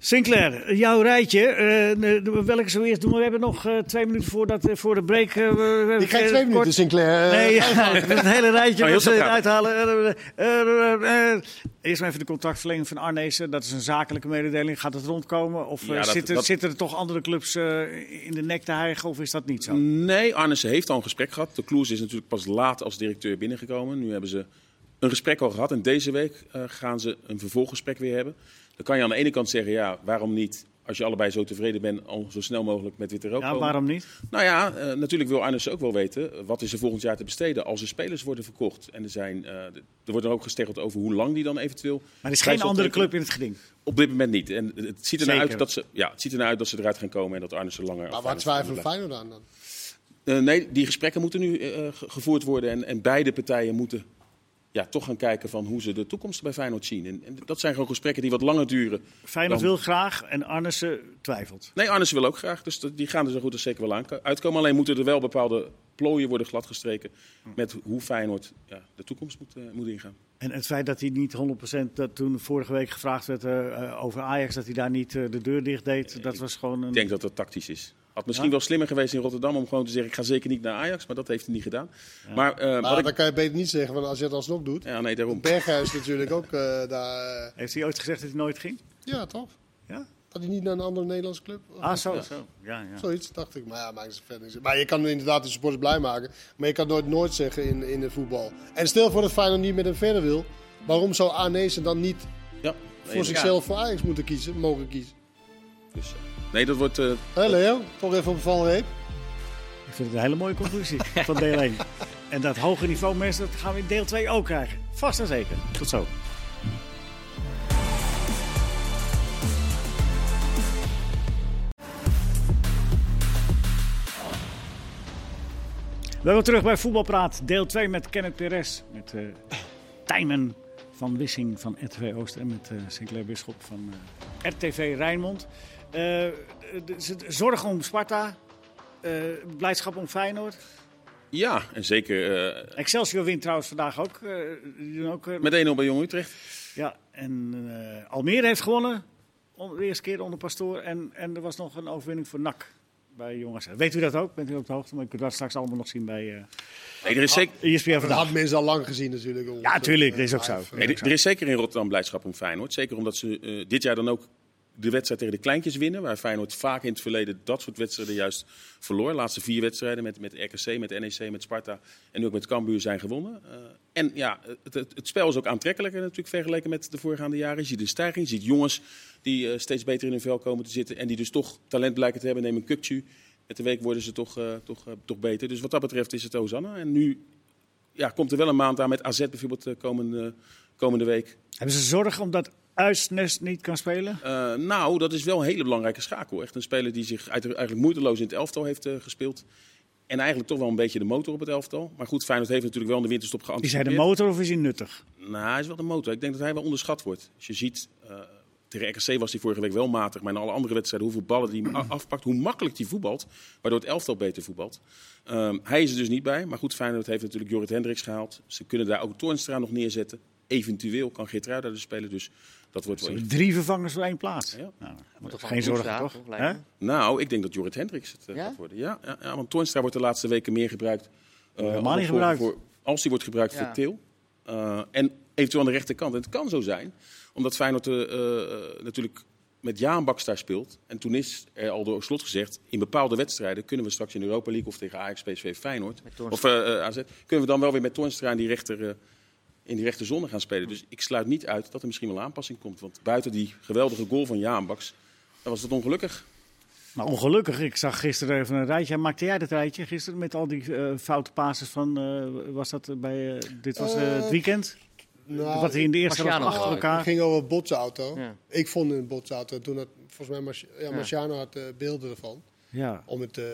Speaker 1: Sinclair, jouw rijtje. eh, eh, welke zo eerst doen? We hebben nog eh, twee minuten voordat, eh, voor de break. eh, we- we,
Speaker 3: Die krijgt twee
Speaker 1: eh,
Speaker 3: minuten, Sinclair.
Speaker 1: Nee,
Speaker 2: *laughs*
Speaker 1: ja, het hele rijtje
Speaker 2: Eh, Oh, heel
Speaker 1: dat ze het
Speaker 2: snel
Speaker 1: uithalen. Eh, eh, eh, eh, eh. Eerst maar even de contractverlenging van Arnezen. Dat is een zakelijke mededeling. Gaat het rondkomen? Of eh,
Speaker 2: Ja, dat-
Speaker 1: zitten,
Speaker 2: dat-
Speaker 1: zitten er toch andere clubs eh, in de nek te hijgen? Of is dat niet zo?
Speaker 2: Mm. Nee, Arnissen heeft al een gesprek gehad. De Kloes is natuurlijk pas laat als directeur binnengekomen. Nu hebben ze een gesprek al gehad. En deze week eh, gaan ze een vervolggesprek weer hebben. Dan kan je aan de ene kant zeggen, ja, waarom niet... als je allebei zo tevreden bent, al zo snel mogelijk met Witte Rook
Speaker 1: Ja,
Speaker 2: komen.
Speaker 1: waarom niet?
Speaker 2: Nou ja, eh, natuurlijk wil Arnissen ook wel weten... eh, wat is er volgend jaar te besteden als er spelers worden verkocht. En er, zijn, eh, er wordt dan ook gesteggeld over hoe lang die dan eventueel...
Speaker 1: Maar er is geen andere club in het geding.
Speaker 2: Op dit moment niet. En het ziet ernaar
Speaker 1: Zeker.
Speaker 2: uit dat ze, ja, het ziet ernaar uit dat ze eruit gaan komen en dat Arnissen langer...
Speaker 3: Nou, Maar
Speaker 2: of
Speaker 3: waar
Speaker 2: Arnissen langer
Speaker 3: twijfelen
Speaker 2: blijft.
Speaker 3: Feyenoord aan dan?
Speaker 2: Eh, nee, die gesprekken moeten nu eh, ge- gevoerd worden. En, en beide partijen moeten ja, toch gaan kijken van hoe ze de toekomst bij Feyenoord zien. En, en dat zijn gewoon gesprekken die wat langer duren.
Speaker 1: Feyenoord
Speaker 2: Dan-
Speaker 1: wil graag en Arnissen twijfelt.
Speaker 2: Nee, Arnes wil ook graag. Dus dat- die gaan er zo goed als zeker wel aan uitkomen. Alleen moeten er wel bepaalde plooien worden gladgestreken met hoe Feyenoord ja, de toekomst moet, eh, moet ingaan.
Speaker 1: En het feit dat hij niet 100% dat toen vorige week gevraagd werd eh, eh, over Ajax, dat hij daar niet eh, de deur dicht deed, dat was gewoon een.
Speaker 2: Ik denk dat dat tactisch is. Had misschien
Speaker 1: Ja?
Speaker 2: wel slimmer geweest in Rotterdam om gewoon te zeggen: ik ga zeker niet naar Ajax, maar dat heeft hij niet gedaan. Maar, eh,
Speaker 3: Maar
Speaker 2: wat
Speaker 3: dan
Speaker 2: ik...
Speaker 3: kan je beter niet zeggen, want als je het alsnog doet.
Speaker 2: Ja, nee, daarom.
Speaker 3: Berghuis *laughs* natuurlijk ook eh, daar. eh,
Speaker 1: Heeft hij ooit gezegd dat hij nooit ging?
Speaker 3: ja, toch?
Speaker 1: Ja?
Speaker 3: Dat hij niet naar een andere Nederlandse club?
Speaker 2: Oh,
Speaker 1: Ah, zo. zo. Ja, ja.
Speaker 3: Zoiets dacht ik. Maar ja, maakt ze verder niet uit. Maar je kan inderdaad de supporters blij maken. Maar je kan nooit nooit zeggen in, in de voetbal. En stel voor dat Feyenoord niet met hem verder wil. Waarom zou Arnezen dan niet
Speaker 2: Ja,
Speaker 3: voor
Speaker 2: nee,
Speaker 3: zichzelf voor Ajax moeten kiezen, mogen kiezen?
Speaker 2: dus, eh, nee, dat wordt. eh,
Speaker 3: Hé Leo, toch even op een valreep.
Speaker 1: Ik vind het een hele mooie conclusie van deel 1. En dat hoge niveau, mensen, dat gaan we in deel 2 ook krijgen. Vast en zeker. Tot zo. Welkom terug bij Voetbalpraat, deel 2 met Kenneth Perez, met eh Tijmen van Wissing van RTV Oost en met eh Sinclair Bisschop van eh, RTV Rijnmond. Eh, de- de- zorg om Sparta, eh, blijdschap om Feyenoord.
Speaker 2: ja, en zeker eh,
Speaker 1: Excelsior wint trouwens vandaag ook. eh, die doen ook eh,
Speaker 2: met 1-0 bij Jong Utrecht.
Speaker 1: ja, en eh, Almere heeft gewonnen. Om, de eerste keer onder Pastoor. En, en er was nog een overwinning voor NAC bij jongens. Weet u dat ook? Bent u op de hoogte? Maar ik kunt dat straks allemaal nog zien bij eh E
Speaker 2: Nee, er is zeker.
Speaker 1: ESPN
Speaker 3: Dat
Speaker 1: vandaag.
Speaker 3: had mensen al lang gezien natuurlijk.
Speaker 1: Ja, tuurlijk. Dat is ook zo.
Speaker 3: Live, eh,
Speaker 2: Nee, er er is zeker in Rotterdam blijdschap om Feyenoord. Zeker omdat ze eh, dit jaar dan ook de wedstrijd tegen de kleintjes winnen. Waar Feyenoord vaak in het verleden dat soort wedstrijden juist verloor. Laatste vier wedstrijden met, met RKC, met NEC, met Sparta en nu ook met Cambuur zijn gewonnen. Eh, en ja, het, het, het spel is ook aantrekkelijker natuurlijk vergeleken met de voorgaande jaren. Je ziet een stijging, je ziet jongens die eh, steeds beter in hun vel komen te zitten. En die dus toch talent blijken te hebben. Neem een Kukcu. Met de week worden ze toch, eh, toch, eh, toch beter. Dus wat dat betreft is het Hosanna. En nu ja, komt er wel een maand aan met AZ bijvoorbeeld eh, komende, komende week.
Speaker 1: Hebben ze zorg omdat Uitsnes niet kan spelen?
Speaker 2: Eh, nou, dat is wel een hele belangrijke schakel. Echt een speler die zich uit- eigenlijk moeiteloos in het elftal heeft eh, gespeeld. En eigenlijk toch wel een beetje de motor op het elftal. Maar goed, Feyenoord heeft natuurlijk wel in de winterstop
Speaker 1: Is
Speaker 2: geanticipeerd.
Speaker 1: hij de motor of is hij nuttig?
Speaker 2: Nou, hij is wel de motor. Ik denk dat hij wel onderschat wordt. Als je ziet, eh, tegen RKC was hij vorige week wel matig. Maar in alle andere wedstrijden, hoeveel ballen die a- afpakt, hoe makkelijk die voetbalt. Waardoor het elftal beter voetbalt. Ehm, hij is er dus niet bij. Maar goed, Feyenoord heeft natuurlijk Jorrit Hendricks gehaald. Ze kunnen daar ook Toornstra nog neerzetten. Eventueel kan Geert Ruida er spelen. Dus dat wordt wel...
Speaker 1: Drie vervangers voor één plaats.
Speaker 2: Ja.
Speaker 1: Nou,
Speaker 4: toch wel
Speaker 1: geen
Speaker 4: goed
Speaker 1: zorgen,
Speaker 4: staan,
Speaker 1: toch?
Speaker 4: toch, lijkt me?
Speaker 1: Hè?
Speaker 2: Nou, ik denk dat Jorrit Hendricks het eh,
Speaker 4: Ja?
Speaker 2: gaat worden. Ja, ja, ja, want Toornstra wordt de laatste weken meer gebruikt. eh,
Speaker 1: Helemaal niet
Speaker 2: voor-
Speaker 1: gebruikt.
Speaker 2: Voor, als die wordt gebruikt
Speaker 4: Ja.
Speaker 2: voor Til. Eh, en eventueel aan de rechterkant. En het kan zo zijn, omdat Feyenoord eh, eh, natuurlijk met Jaan Baks daar speelt. En toen is er al door slot gezegd, in bepaalde wedstrijden kunnen we straks in de Europa League of tegen Ajax, PSV, Feyenoord.
Speaker 4: Met
Speaker 2: Of
Speaker 4: Toornstra.
Speaker 2: eh, eh, AZ, kunnen we dan wel weer met Toornstra in die rechter... eh, in die rechter zonne gaan spelen. Dus ik sluit niet uit dat er misschien wel een aanpassing komt. Want buiten die geweldige goal van Jaan Baks, dan was het ongelukkig.
Speaker 1: Maar ongelukkig, ik zag gisteren even een rijtje. Maakte jij dat rijtje gisteren met al die eh, foute passes van... eh, was dat bij... eh, dit was eh, het
Speaker 3: Eh,
Speaker 1: weekend?
Speaker 3: nou,
Speaker 1: Wat hij in de eerste helft
Speaker 4: Marciano
Speaker 1: achter
Speaker 4: geloof ik.
Speaker 1: elkaar...
Speaker 3: Het ging over een botsauto.
Speaker 4: Ja.
Speaker 3: Ik vond een botsauto. Toen had, volgens mij Marci- ja,
Speaker 4: Ja.
Speaker 3: Marciano had eh, beelden ervan.
Speaker 1: Ja.
Speaker 3: Om het, eh,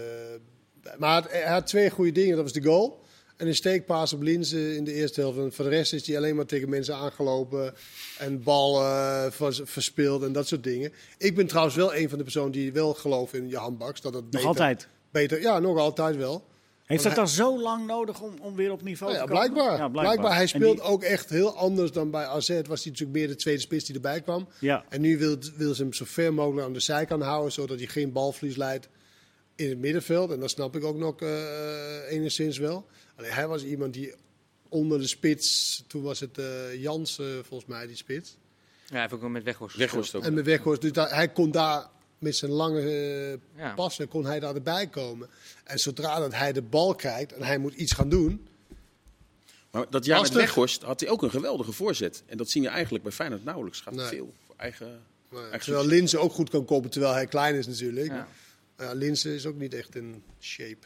Speaker 3: maar hij had- hij had twee goede dingen. Dat was de goal. En een steekpaas op Linzen in de eerste helft. En voor de rest is hij alleen maar tegen mensen aangelopen. En bal eh, vers- verspeeld en dat soort dingen. Ik ben trouwens wel een van de personen die wel gelooft in Johan Baks. Dat het
Speaker 1: Nog
Speaker 3: beter,
Speaker 1: altijd.
Speaker 3: Beter, ja, nog altijd wel.
Speaker 1: Heeft
Speaker 3: Want
Speaker 1: dat dan zo lang nodig om, om weer op niveau
Speaker 3: Nou ja,
Speaker 1: te komen?
Speaker 3: blijkbaar.
Speaker 1: Ja,
Speaker 3: blijkbaar. Hij
Speaker 1: En
Speaker 3: speelt
Speaker 1: die-
Speaker 3: ook echt heel anders dan bij AZ. Was hij natuurlijk meer de tweede spits die erbij kwam.
Speaker 1: Ja.
Speaker 3: En nu wil, wil ze hem zo ver mogelijk aan de zijkant houden, zodat hij geen balvlies leidt in het middenveld. En dat snap ik ook nog eh, enigszins wel. Alleen hij was iemand die onder de spits, toen was het eh Jans eh, volgens mij die spits.
Speaker 4: Ja, even ook met Weghorst.
Speaker 2: Weghorst ook.
Speaker 3: En met Weghorst, dus daar- hij kon daar met zijn lange eh,
Speaker 4: Ja.
Speaker 3: passen, kon hij daar erbij komen. En zodra dat hij de bal krijgt en hij moet iets gaan doen,
Speaker 2: Maar dat jaar met
Speaker 3: Lastig.
Speaker 2: Weghorst had hij ook een geweldige voorzet. En dat zie je eigenlijk bij Feyenoord nauwelijks. Gaat
Speaker 3: Nee.
Speaker 2: veel voor eigen...
Speaker 3: Nou ja,
Speaker 2: Echt
Speaker 3: terwijl
Speaker 2: succes.
Speaker 3: Linse ook goed kan koppen, terwijl hij klein is natuurlijk.
Speaker 4: Ja.
Speaker 3: Ja. Linse is ook niet echt in shape.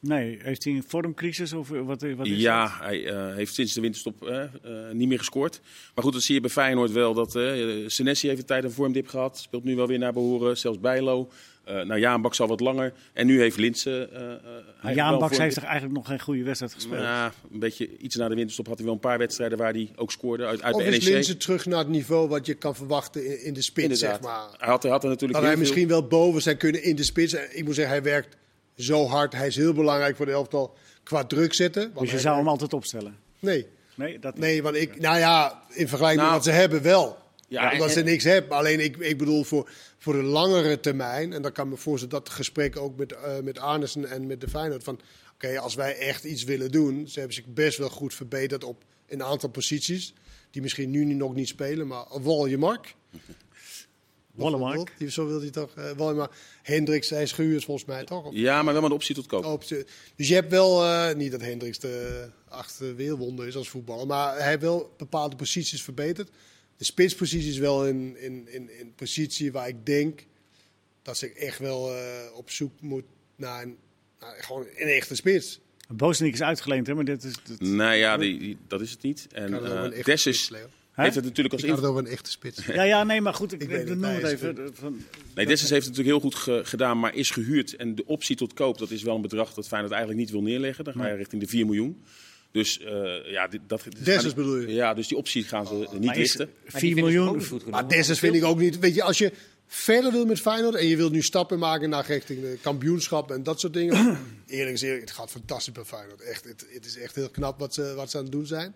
Speaker 1: Nee, heeft hij een vormcrisis of eh, wat, wat is dat?
Speaker 2: Ja, hij eh, heeft sinds de winterstop eh, eh, niet meer gescoord. Maar goed, dat zie je bij Feyenoord wel. Dat, eh Senesi heeft een tijd een vormdip gehad. Speelt nu wel weer naar behoren. Zelfs Bijlo. Eh nou, Jaan Baks al wat langer. En nu heeft Linsen... eh, eh,
Speaker 1: Maar
Speaker 2: hij
Speaker 1: Jaan
Speaker 2: wel
Speaker 1: Baks heeft
Speaker 2: vormdip.
Speaker 1: toch eigenlijk nog geen goede wedstrijd gespeeld?
Speaker 2: Ja, een beetje iets na de winterstop had hij wel een paar wedstrijden waar hij ook scoorde. Uit, uit
Speaker 3: Of
Speaker 2: de E
Speaker 3: is
Speaker 2: NEC.
Speaker 3: Linse terug naar het niveau wat je kan verwachten in, in de spits,
Speaker 2: Inderdaad.
Speaker 3: zeg maar.
Speaker 2: Hij had, hij had er natuurlijk
Speaker 3: Dat hij
Speaker 2: heel veel-
Speaker 3: misschien wel boven zijn kunnen in de spits. En Ik moet zeggen, hij werkt zo hard. Hij is heel belangrijk voor de elftal qua druk zetten. Want
Speaker 1: Dus je
Speaker 3: hij-
Speaker 1: zou hem altijd opstellen?
Speaker 3: Nee,
Speaker 1: Nee, dat
Speaker 3: nee, want ik... Nou ja, in vergelijking
Speaker 2: Nou.
Speaker 3: met wat ze hebben, wel.
Speaker 2: Ja,
Speaker 3: Omdat
Speaker 2: en-
Speaker 3: ze niks hebben. Alleen ik, ik bedoel voor, voor de langere termijn. En dan kan ik me voorstellen dat gesprek ook met, eh met Arnesen en met de Feyenoord. Van oké, als wij echt iets willen doen. Ze hebben zich best wel goed verbeterd op een aantal posities. Die misschien nu nog niet spelen. Maar Waljemark.
Speaker 1: Wollemark.
Speaker 3: Die- Zo wil hij toch. eh Waljemark. Hendricks, hij schuurs volgens mij toch. Op,
Speaker 2: Ja, maar wel met optie tot koop.
Speaker 3: op de- dus je hebt wel. eh, niet dat Hendricks de achtste wereldwonder is als voetballer. Maar hij heeft wel bepaalde posities verbeterd. De spitspositie is wel een in, in, in positie waar ik denk dat ze echt wel eh, op zoek moet naar een, naar gewoon een echte spits.
Speaker 1: Bosnik is uitgeleend, hè? Maar dit is... dit-
Speaker 2: Nou ja, die, die- dat is het niet. En
Speaker 3: Ricardo
Speaker 2: eh,
Speaker 3: een echte
Speaker 2: Dessus
Speaker 3: spits, Leo.
Speaker 1: Hè?
Speaker 2: heeft het natuurlijk als
Speaker 3: Ik had
Speaker 2: inv-
Speaker 3: het over een echte spits.
Speaker 1: Ja, ja, nee, maar goed, ik,
Speaker 3: Ik
Speaker 1: ik,
Speaker 3: weet het,
Speaker 1: noem
Speaker 3: nee,
Speaker 1: het
Speaker 3: is
Speaker 1: even. eh, Van,
Speaker 2: Nee, Dessus heeft het natuurlijk heel goed ge- gedaan, maar is gehuurd. En de optie tot koop, dat is wel een bedrag dat Feyenoord eigenlijk niet wil neerleggen. Dan ga je richting de 4 miljoen. Dus eh, ja, dit, dat... dit-
Speaker 3: Dessus bedoel je?
Speaker 2: Ja, dus die optie gaan ze niet
Speaker 1: maar is
Speaker 2: richten.
Speaker 1: 4 miljoen...
Speaker 3: Maar
Speaker 4: Nou,
Speaker 3: Dessus vind ik ook niet. Weet je, als je verder wil met Feyenoord en je wilt nu stappen maken naar richting de kampioenschap en dat soort dingen. eerlijk is eerlijk, het gaat fantastisch bij Feyenoord. Echt, het, het is echt heel knap wat ze, wat ze aan het doen zijn.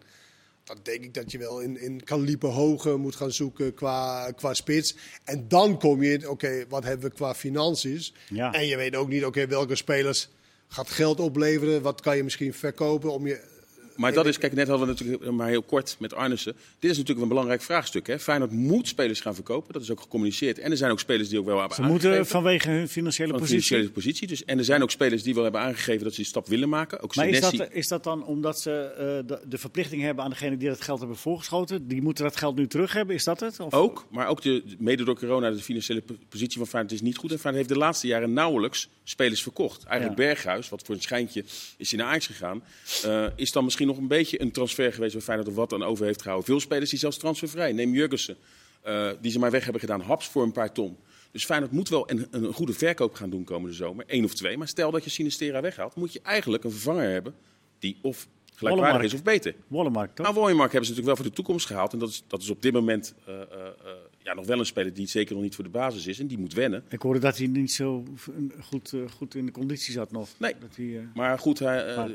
Speaker 3: Dan denk ik dat je wel in, in kaliber hoger moet gaan zoeken qua, qua spits. En dan kom je in, oké, wat hebben we qua financiën?
Speaker 1: Ja.
Speaker 3: En je weet ook niet, oké, welke spelers gaat geld opleveren? Wat kan je misschien verkopen om je...
Speaker 2: Maar dat is, kijk, net hadden we natuurlijk eh, maar heel kort met Arnissen. Dit is natuurlijk een belangrijk vraagstuk. Hè? Feyenoord moet spelers gaan verkopen, dat is ook gecommuniceerd. En er zijn ook spelers die ook wel hebben
Speaker 1: Ze moeten
Speaker 2: aangegeven
Speaker 1: vanwege hun financiële
Speaker 2: van de
Speaker 1: positie...
Speaker 2: financiële positie. Dus, en er zijn ook spelers die wel hebben aangegeven dat ze die stap willen maken. Ook
Speaker 1: Maar is
Speaker 2: Senesi-
Speaker 1: dat, is dat dan omdat ze eh, de, de verplichting hebben aan degene die dat geld hebben voorgeschoten? Die moeten dat geld nu terug hebben, is dat het? Of-
Speaker 2: Ook, maar ook de, mede door corona, de financiële po- positie van Feyenoord is niet goed. En Feyenoord heeft de laatste jaren nauwelijks spelers verkocht. Eigenlijk
Speaker 1: Ja.
Speaker 2: Berghuis, wat voor een schijntje is hij naar Ajax gegaan, eh, is dan misschien nog een beetje een transfer geweest waar Feyenoord er wat aan over heeft gehouden. Veel spelers die zelfs transfervrij, neem Jurgensen, eh, die ze maar weg hebben gedaan, Haps voor een paar ton. Dus Feyenoord moet wel een, een goede verkoop gaan doen komende zomer, één of twee. Maar stel dat je Sinistera weghaalt, moet je eigenlijk een vervanger hebben die of gelijkwaardig
Speaker 1: Wollemark.
Speaker 2: is of beter.
Speaker 1: Wollemark, toch?
Speaker 2: Nou, Wooijenmark hebben ze natuurlijk wel voor de toekomst gehaald. En dat is, dat is op dit moment eh, eh, eh, ja, nog wel een speler die zeker nog niet voor de basis is. En die moet wennen.
Speaker 1: Ik hoorde dat hij niet zo v- een- goed, eh, goed in de conditie zat nog.
Speaker 2: Nee.
Speaker 1: Dat hij, eh,
Speaker 2: Maar goed, hij, eh,
Speaker 1: Maar-
Speaker 2: dat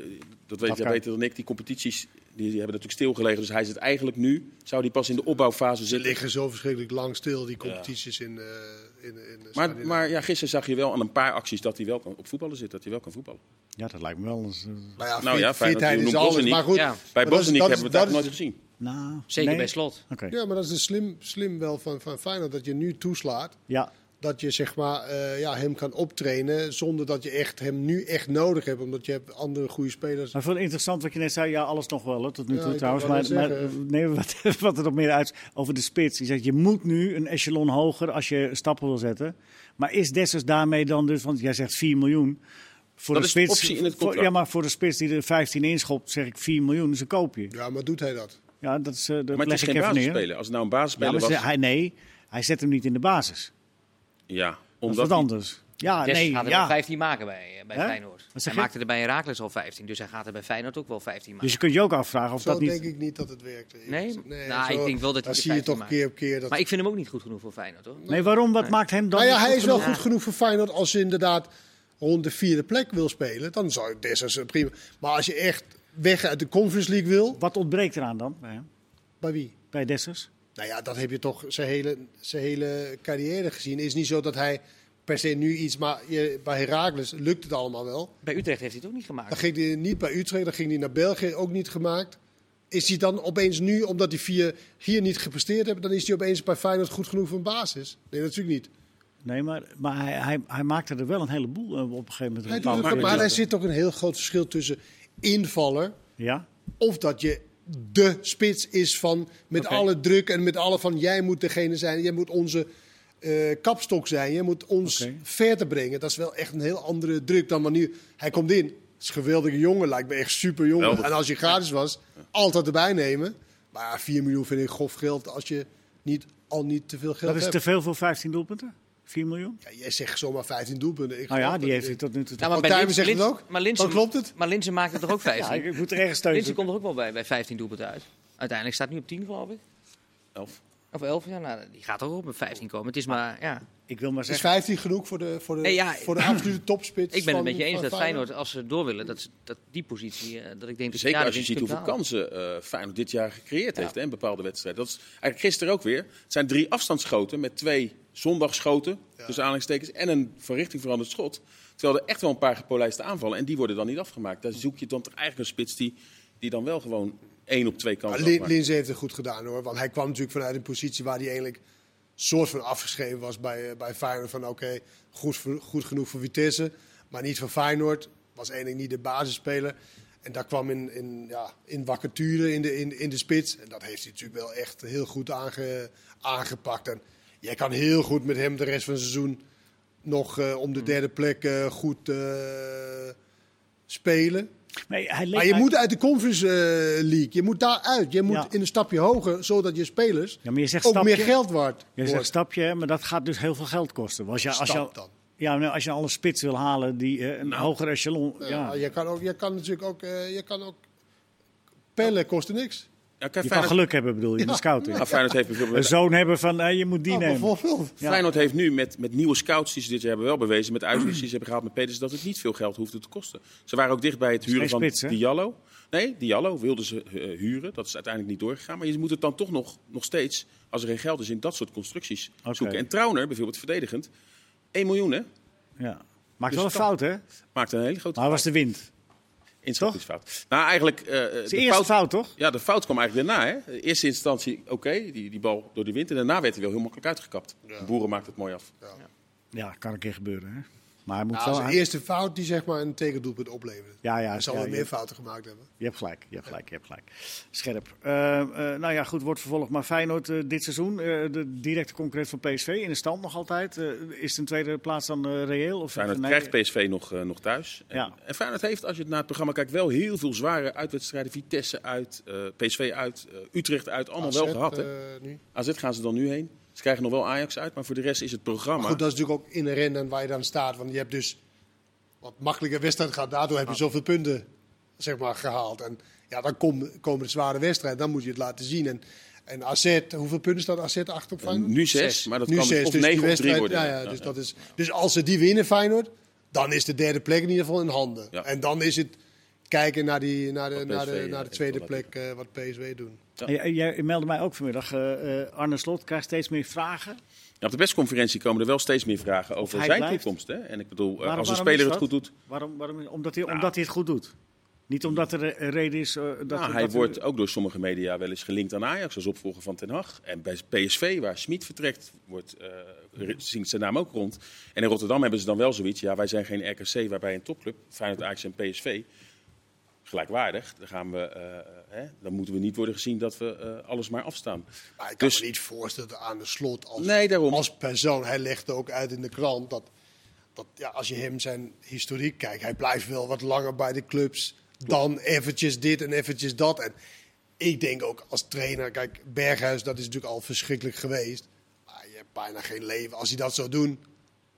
Speaker 1: Dat
Speaker 2: weet jij
Speaker 1: kan.
Speaker 2: beter dan ik. Die competities die, die hebben natuurlijk stilgelegen. Dus hij zit eigenlijk nu, zou die pas in de opbouwfase
Speaker 3: Ze
Speaker 2: zitten.
Speaker 3: liggen zo verschrikkelijk lang stil, die competities in, eh, in, in
Speaker 2: Maar,
Speaker 3: Scandinavië.
Speaker 2: maar ja, gisteren zag je wel aan een paar acties dat hij wel kan, op voetballen zit. Dat hij wel kan voetballen.
Speaker 1: ja, dat lijkt me wel eens... eh,
Speaker 3: Nou ja,
Speaker 2: Nou
Speaker 3: fit-
Speaker 2: ja, fijn dat
Speaker 3: fitheid
Speaker 2: je
Speaker 3: is
Speaker 2: noemt
Speaker 3: alles.
Speaker 2: Bosniak.
Speaker 3: Maar goed,
Speaker 4: Ja.
Speaker 2: Bij
Speaker 3: maar dat is-
Speaker 2: Bosniek
Speaker 3: dat
Speaker 2: hebben we het
Speaker 3: is-
Speaker 2: eigenlijk
Speaker 3: dat
Speaker 2: nooit
Speaker 3: is-
Speaker 2: gezien.
Speaker 1: nou,
Speaker 4: Zeker
Speaker 1: nee?
Speaker 4: bij slot.
Speaker 1: Oké,
Speaker 3: Ja, maar dat is een slim, slim wel van, van Feyenoord dat je nu toeslaat.
Speaker 1: ja.
Speaker 3: Dat je zeg maar, eh, ja, hem kan optrainen zonder dat je echt, hem nu echt nodig hebt. Omdat je hebt andere goede spelers.
Speaker 1: Maar ik vond het interessant wat je net zei. Ja, alles nog wel hè, tot nu
Speaker 3: Ja,
Speaker 1: toe
Speaker 3: ik
Speaker 1: trouwens.
Speaker 3: wou
Speaker 1: Maar,
Speaker 3: net
Speaker 1: maar
Speaker 3: zeggen. eh,
Speaker 1: nee, *laughs* wat, wat er nog meer uit over de spits. Je zegt, je moet nu een echelon hoger als je stappen wil zetten. Maar is Dessers daarmee dan dus, want jij zegt 4 miljoen. Voor
Speaker 2: Dat
Speaker 1: de
Speaker 2: is de
Speaker 1: spits,
Speaker 2: optie in het
Speaker 1: voor-
Speaker 2: contract.
Speaker 1: ja, maar voor de spits die er 15 inschopt, zeg ik 4 miljoen, Dus is een koopje.
Speaker 3: Ja, maar doet hij dat?
Speaker 1: Ja, dat, is, eh, dat
Speaker 2: Maar het
Speaker 1: leg
Speaker 2: is
Speaker 1: ik
Speaker 2: geen
Speaker 1: even neer.
Speaker 2: basisspeler. Als het nou een
Speaker 1: Ja,
Speaker 2: basisspeler
Speaker 1: maar ze-
Speaker 2: was...
Speaker 1: hij, nee, hij zet hem niet in de basis.
Speaker 2: Ja,
Speaker 1: Dat is
Speaker 2: omdat
Speaker 1: wat
Speaker 2: hij-
Speaker 1: anders. Ja,
Speaker 4: Des
Speaker 1: Ah, nee,
Speaker 4: gaat er
Speaker 1: ja.
Speaker 4: wel 15 maken bij, eh, bij
Speaker 1: Hè?
Speaker 4: Feyenoord.
Speaker 1: Wat zeg
Speaker 4: Hij
Speaker 1: je?
Speaker 4: maakte er bij Herakles al 15, dus hij gaat er bij Feyenoord ook wel 15 maken.
Speaker 1: Dus je kunt je ook afvragen of
Speaker 3: Zo
Speaker 1: dat niet...
Speaker 3: denk ik niet dat het werkt. eerlijk
Speaker 4: Nee?
Speaker 3: gezegd.
Speaker 4: Nou,
Speaker 3: zo-
Speaker 4: ik denk wel dat
Speaker 3: Dan
Speaker 4: hij de
Speaker 3: zie je
Speaker 4: 15
Speaker 3: toch
Speaker 4: maakt.
Speaker 3: keer op keer dat...
Speaker 4: Maar ik vind hem ook niet goed genoeg voor Feyenoord, hoor.
Speaker 1: Nee, waarom? Wat maakt hem dan
Speaker 3: Nou ja,
Speaker 1: niet
Speaker 3: hij
Speaker 1: goed
Speaker 3: is wel
Speaker 1: genoeg?
Speaker 3: goed genoeg voor Feyenoord als ze inderdaad rond de vierde plek wil spelen. Dan zou ik Dessers prima... Maar als je echt weg uit de Conference League wil...
Speaker 1: Wat ontbreekt eraan dan bij hem?
Speaker 3: Bij wie?
Speaker 1: Bij Dessers?
Speaker 3: Nou ja, dat heb je toch zijn hele, zijn hele carrière gezien. Het is niet zo dat hij per se nu iets... Maar je, bij Heracles lukt het allemaal wel.
Speaker 4: Bij Utrecht heeft hij het ook niet gemaakt.
Speaker 3: Dan ging hij niet bij Utrecht, dan ging hij naar België, ook niet gemaakt. Is hij dan opeens nu, omdat die vier hier niet gepresteerd hebben... dan is hij opeens bij Feyenoord goed genoeg voor een basis? Nee, natuurlijk niet.
Speaker 1: Nee, maar, maar hij, hij, hij maakte er wel een heleboel eh, op een gegeven moment.
Speaker 3: Hij doet
Speaker 1: Bepaalde
Speaker 3: het, maar
Speaker 1: punten.
Speaker 3: er zit toch een heel groot verschil tussen invaller...
Speaker 1: Ja?
Speaker 3: of dat je de spits is van met
Speaker 1: Oké.
Speaker 3: alle druk en met alle van jij moet degene zijn, jij moet onze eh, kapstok zijn, jij moet ons
Speaker 1: Oké.
Speaker 3: verder brengen. Dat is wel echt een heel andere druk dan wanneer hij komt in. Het is een geweldige jongen, lijkt me echt super jongen.
Speaker 2: Geweldig.
Speaker 3: En als je gratis was, altijd erbij nemen. Maar ja, 4 miljoen vind ik grof geld als je niet, al niet te veel geld
Speaker 1: Dat is
Speaker 3: hebt.
Speaker 1: te veel voor 15 doelpunten? 4 miljoen?
Speaker 3: Ja, jij zegt zomaar 15 doelpunten. Ik
Speaker 1: Nou
Speaker 3: geloof
Speaker 1: ja, die
Speaker 3: dat-
Speaker 1: heeft hij tot nu toe...
Speaker 4: Nou,
Speaker 3: Want
Speaker 4: bij
Speaker 3: Tijmen
Speaker 4: Linse-
Speaker 3: zegt het
Speaker 4: Linse-
Speaker 3: ook.
Speaker 4: Maar Linse,
Speaker 3: Dan klopt het.
Speaker 4: Maar Linse maakt het
Speaker 3: *laughs*
Speaker 4: toch ook 15?
Speaker 1: Ja, ik moet er ergens steun
Speaker 4: Linse komt er ook wel bij, bij 15 doelpunten uit. Uiteindelijk staat nu op 10, geloof ik.
Speaker 2: Elf.
Speaker 4: Of 11, ja, nou, die gaat toch op een 15 komen. Het is maar, ja.
Speaker 1: Ik wil maar
Speaker 3: Is
Speaker 1: zeggen...
Speaker 3: 15 genoeg voor de, voor de,
Speaker 4: Nee, ja,
Speaker 3: voor de absolute topspits?
Speaker 4: Ik ben
Speaker 3: van-
Speaker 4: het met je eens
Speaker 3: van
Speaker 4: dat Feyenoord, als ze door willen, dat, ze- dat die positie, eh, dat ik denk dat
Speaker 2: Zeker
Speaker 4: ja,
Speaker 2: als je
Speaker 4: dat
Speaker 2: ziet
Speaker 4: kunt
Speaker 2: hoeveel
Speaker 4: halen.
Speaker 2: kansen eh Feyenoord dit jaar gecreëerd heeft hè, in bepaalde wedstrijden. Dat is eigenlijk gisteren ook weer. Het zijn drie afstandsschoten met twee zondagschoten, tussen aanhalingstekens, en een van richting veranderd schot. Terwijl er echt wel een paar gepolijste aanvallen en die worden dan niet afgemaakt. Daar zoek je dan toch eigenlijk een spits die, die dan wel gewoon één op twee kansen
Speaker 3: Maar Lin-
Speaker 2: afmaakt.
Speaker 3: Linzen heeft het goed gedaan hoor. Want hij kwam natuurlijk vanuit een positie waar hij eigenlijk soort van afgeschreven was bij, eh, bij Feyenoord. Van oké, goed, voor- goed genoeg voor Vitesse, maar niet voor Feyenoord. Was eigenlijk niet de basisspeler. En daar kwam in, in, ja, in vacature in de, in, in de spits. En dat heeft hij natuurlijk wel echt heel goed aange- aangepakt. En jij kan heel goed met hem de rest van het seizoen nog eh, om de derde plek eh, goed eh, spelen.
Speaker 1: Nee, hij leek
Speaker 3: Maar je
Speaker 1: mij-
Speaker 3: moet uit de Conference eh, League. Je moet daaruit. Je moet
Speaker 1: Ja.
Speaker 3: in een stapje hoger, zodat je spelers
Speaker 1: Ja, maar je zegt
Speaker 3: ook
Speaker 1: stapje.
Speaker 3: meer geld waard
Speaker 1: Je
Speaker 3: wordt.
Speaker 1: zegt stapje, hè, maar dat gaat dus heel veel geld kosten. Als je, als je,
Speaker 3: Stap dan. Nou.
Speaker 1: Ja, nou, als je al een spits wil halen die eh, een hoger echelon...
Speaker 3: Ja,
Speaker 1: ja.
Speaker 3: maar Je, kan ook, je kan natuurlijk ook... eh, je kan ook pellen kostte niks.
Speaker 2: Ja, kijk,
Speaker 1: Je kan
Speaker 2: Feyenoord,
Speaker 1: geluk hebben, bedoel je, in de scouting.
Speaker 2: Ja, Feyenoord heeft
Speaker 1: Een
Speaker 2: bijvoorbeeld
Speaker 1: zoon hebben van, eh, je moet die
Speaker 3: Nou,
Speaker 1: nemen.
Speaker 3: bijvoorbeeld.
Speaker 1: Ja.
Speaker 2: Feyenoord heeft nu met, met nieuwe scouts die ze dit jaar hebben wel bewezen, met uitwissels die ze hebben gehaald met Peters, dat het niet veel geld hoefde te kosten. Ze waren ook dicht bij het huren
Speaker 1: geen
Speaker 2: van
Speaker 1: spits, hè?
Speaker 2: Diallo. Nee, Diallo wilden ze eh, huren. Dat is uiteindelijk niet doorgegaan. Maar je moet het dan toch nog, nog steeds, als er geen geld is, in dat soort constructies
Speaker 1: Oké.
Speaker 2: zoeken. En Trauner, bijvoorbeeld verdedigend, 1 miljoen hè,
Speaker 1: Ja. Maakt
Speaker 2: Dus
Speaker 1: wel een
Speaker 2: kan-
Speaker 1: fout, hè?
Speaker 2: maakte een hele grote
Speaker 1: Maar was de wind.
Speaker 2: inschattingsfout. Nou, eigenlijk... eh, de
Speaker 1: Zijn eerste
Speaker 2: fout-
Speaker 1: fout, toch?
Speaker 2: Ja, de fout kwam eigenlijk daarna. Hè. In eerste instantie, oké, die, die bal door de wind. En daarna werd hij wel heel makkelijk uitgekapt. De boeren maakt het mooi af.
Speaker 1: Ja, kan een keer gebeuren, hè? Maar hij moet
Speaker 3: Ja,
Speaker 1: wel...
Speaker 3: dat is de
Speaker 1: hij-
Speaker 3: eerste fout die zeg maar een tegendoelpunt opleverde.
Speaker 1: Ja, ja,
Speaker 3: Hij zal
Speaker 1: ja,
Speaker 3: wel
Speaker 1: ja.
Speaker 3: meer fouten gemaakt hebben.
Speaker 1: Je hebt gelijk, je hebt gelijk, je hebt gelijk. Scherp. Eh, eh, nou ja, goed, wordt vervolgd. Maar Feyenoord eh, dit seizoen, eh, de directe concurrent van PSV, in de stand nog altijd. Eh, is een tweede plaats dan eh, reëel? Of
Speaker 2: Feyenoord
Speaker 1: nee,
Speaker 2: krijgt PSV nog, eh, nog thuis. En,
Speaker 1: Ja.
Speaker 2: en Feyenoord heeft, als je het naar het programma kijkt, wel heel veel zware uitwedstrijden. Vitesse uit, eh, PSV uit, eh, Utrecht uit. Allemaal wel
Speaker 3: AZ,
Speaker 2: gehad. Hè?
Speaker 3: eh, nu.
Speaker 2: AZ gaan ze dan nu heen. Ze krijgen nog wel Ajax uit, maar voor de rest is het programma...
Speaker 3: Maar goed, dat is natuurlijk ook inherent aan waar je dan staat. Want je hebt dus wat makkelijker wedstrijd gehad. Daardoor heb je zoveel punten zeg maar, gehaald. En ja, dan kom- komen de zware wedstrijden. Dan moet je het laten zien. En, en AZ, hoeveel punten staat AZ achter op Feyenoord?
Speaker 2: nu zes,
Speaker 4: Zes.
Speaker 2: maar dat
Speaker 3: nu
Speaker 2: kan
Speaker 3: zes,
Speaker 2: dus of
Speaker 3: dus die
Speaker 2: negen of drie
Speaker 3: wedstrijd-
Speaker 2: worden.
Speaker 3: ja, ja, dus, dat is, dus als ze die winnen, Feyenoord, dan is de derde plek in ieder geval in handen.
Speaker 2: Ja.
Speaker 3: En dan is het kijken naar, die, naar, de,
Speaker 2: Wat
Speaker 3: naar,
Speaker 2: PSV,
Speaker 3: de,
Speaker 2: eh,
Speaker 3: naar de
Speaker 2: heeft
Speaker 3: tweede
Speaker 2: wel laten
Speaker 3: plek eh, wat PSW doen.
Speaker 1: Eh, Jij, jij meldde mij ook vanmiddag. eh, eh, Arne Slot krijgt steeds meer vragen.
Speaker 2: Ja, op de persconferentie komen er wel steeds meer vragen over
Speaker 1: hij
Speaker 2: zijn
Speaker 1: blijft.
Speaker 2: toekomst. Hè? En ik bedoel, eh,
Speaker 1: Waarom-
Speaker 2: als een
Speaker 1: waarom
Speaker 2: speler
Speaker 1: is
Speaker 2: het goed
Speaker 1: dat?
Speaker 2: doet...
Speaker 1: Waarom, waarom, omdat, hij, omdat hij het goed doet. Niet omdat er eh, een reden is eh, dat
Speaker 2: Nou,
Speaker 1: dat
Speaker 2: hij
Speaker 1: er-
Speaker 2: wordt ook door sommige media wel eens gelinkt aan Ajax als opvolger van Ten Hag. En bij PSV, waar Smit vertrekt, wordt, eh, re- zingt zijn naam ook rond. En in Rotterdam hebben ze dan wel zoiets. Ja, wij zijn geen RKC, waarbij een topclub, Feyenoord, Ajax en PSV, gelijkwaardig. Dan, gaan we, eh, hè, dan moeten we niet worden gezien dat we eh, alles maar afstaan.
Speaker 3: Maar ik kan
Speaker 2: Dus-
Speaker 3: me niet voorstellen dat aan de slot als,
Speaker 2: Nee, daarom.
Speaker 3: als persoon. Hij legde ook uit in de krant dat, dat ja, als je hem zijn historiek kijkt, hij blijft wel wat langer bij de clubs dan eventjes dit en eventjes dat. En ik denk ook als trainer, kijk, Berghuis, dat is natuurlijk al verschrikkelijk geweest. Maar je hebt bijna geen leven. Als hij dat zou doen,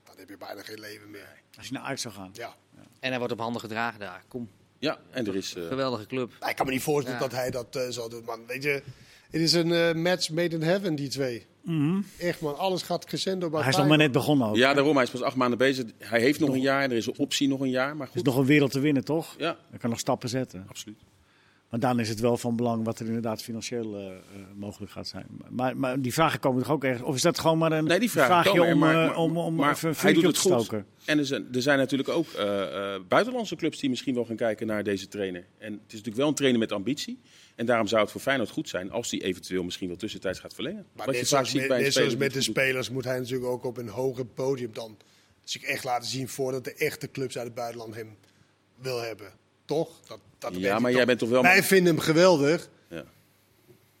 Speaker 3: dan heb je bijna geen leven meer.
Speaker 1: Als je naar uit zou gaan.
Speaker 3: Ja.
Speaker 4: En hij wordt op handen gedragen daar. Kom,
Speaker 2: Ja, en er is... eh,
Speaker 4: geweldige club.
Speaker 3: Nou, Ik kan me niet voorstellen
Speaker 4: Ja.
Speaker 3: dat hij dat eh, zal doen, man. Weet je, het is een eh, match made in heaven, die twee. Echt, man. Alles gaat crescendo
Speaker 1: Mhm.
Speaker 3: bij
Speaker 1: Hij is nog maar net begonnen ook.
Speaker 2: ja, daarom. Hij is pas acht maanden bezig. Hij heeft nog een jaar en er is een optie nog een jaar. Maar
Speaker 1: Er is
Speaker 2: goed,
Speaker 1: nog een wereld te winnen, toch?
Speaker 2: ja,
Speaker 1: Hij kan nog stappen zetten.
Speaker 2: absoluut.
Speaker 1: Maar dan is het wel van belang wat er inderdaad financieel eh, eh, mogelijk gaat zijn. Maar, maar die vragen komen toch ook ergens? Of is dat gewoon maar een
Speaker 2: Nee, die vragen
Speaker 1: vraagje
Speaker 2: komen er,
Speaker 1: om,
Speaker 2: maar-
Speaker 1: eh,
Speaker 2: maar-
Speaker 1: om, om
Speaker 2: maar
Speaker 1: even een
Speaker 2: hij doet
Speaker 1: vuurtje op te
Speaker 2: het goed.
Speaker 1: stoken?
Speaker 2: En er zijn, er zijn natuurlijk ook eh, eh, buitenlandse clubs die misschien wel gaan kijken naar deze trainer. En het is natuurlijk wel een trainer met ambitie. En daarom zou het voor Feyenoord goed zijn als die eventueel misschien wel tussentijds gaat verlengen.
Speaker 3: Maar
Speaker 2: Wat
Speaker 3: net
Speaker 2: je vaak
Speaker 3: zoals,
Speaker 2: ziet
Speaker 3: met,
Speaker 2: bij een
Speaker 3: net
Speaker 2: speler
Speaker 3: zoals
Speaker 2: die
Speaker 3: met de
Speaker 2: het goed
Speaker 3: spelers moet hij natuurlijk ook op een hoger podium dan zich echt laten zien voordat de echte clubs uit het buitenland hem wil hebben. Toch? Dat, dat
Speaker 2: doet.
Speaker 3: weet
Speaker 2: Ja,
Speaker 3: ik
Speaker 2: maar
Speaker 3: toch.
Speaker 2: jij bent toch wel...
Speaker 3: Wij vinden hem geweldig,
Speaker 2: Ja.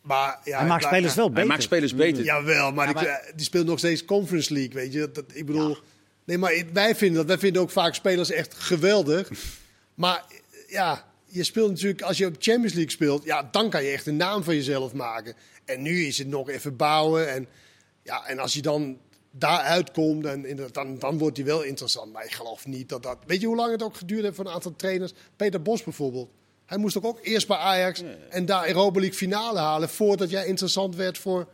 Speaker 3: maar... Ja,
Speaker 1: hij maakt
Speaker 3: nou,
Speaker 1: spelers wel
Speaker 2: Hij
Speaker 1: beter.
Speaker 2: maakt spelers beter.
Speaker 3: Jawel, maar,
Speaker 4: Ja,
Speaker 3: die,
Speaker 4: maar-
Speaker 3: eh, die speelt nog steeds Conference League, weet je. Dat, dat- ik bedoel, nee, maar ik- wij vinden dat. Wij vinden ook vaak spelers echt
Speaker 4: *laughs*
Speaker 3: geweldig. maar eh, ja, je speelt natuurlijk, als je op Champions League speelt, ja, dan kan je echt een naam van jezelf maken. En nu is het nog even bouwen. En, ja, en als je dan daaruit komt, dan, inderdaad, dan, dan wordt die wel interessant. Maar ik geloof niet dat dat... Weet je hoe lang het ook geduurd heeft voor een aantal trainers? Peter Bos bijvoorbeeld. Hij moest toch ook eerst bij Ajax en daar Europa League finale halen... voordat jij interessant werd voor,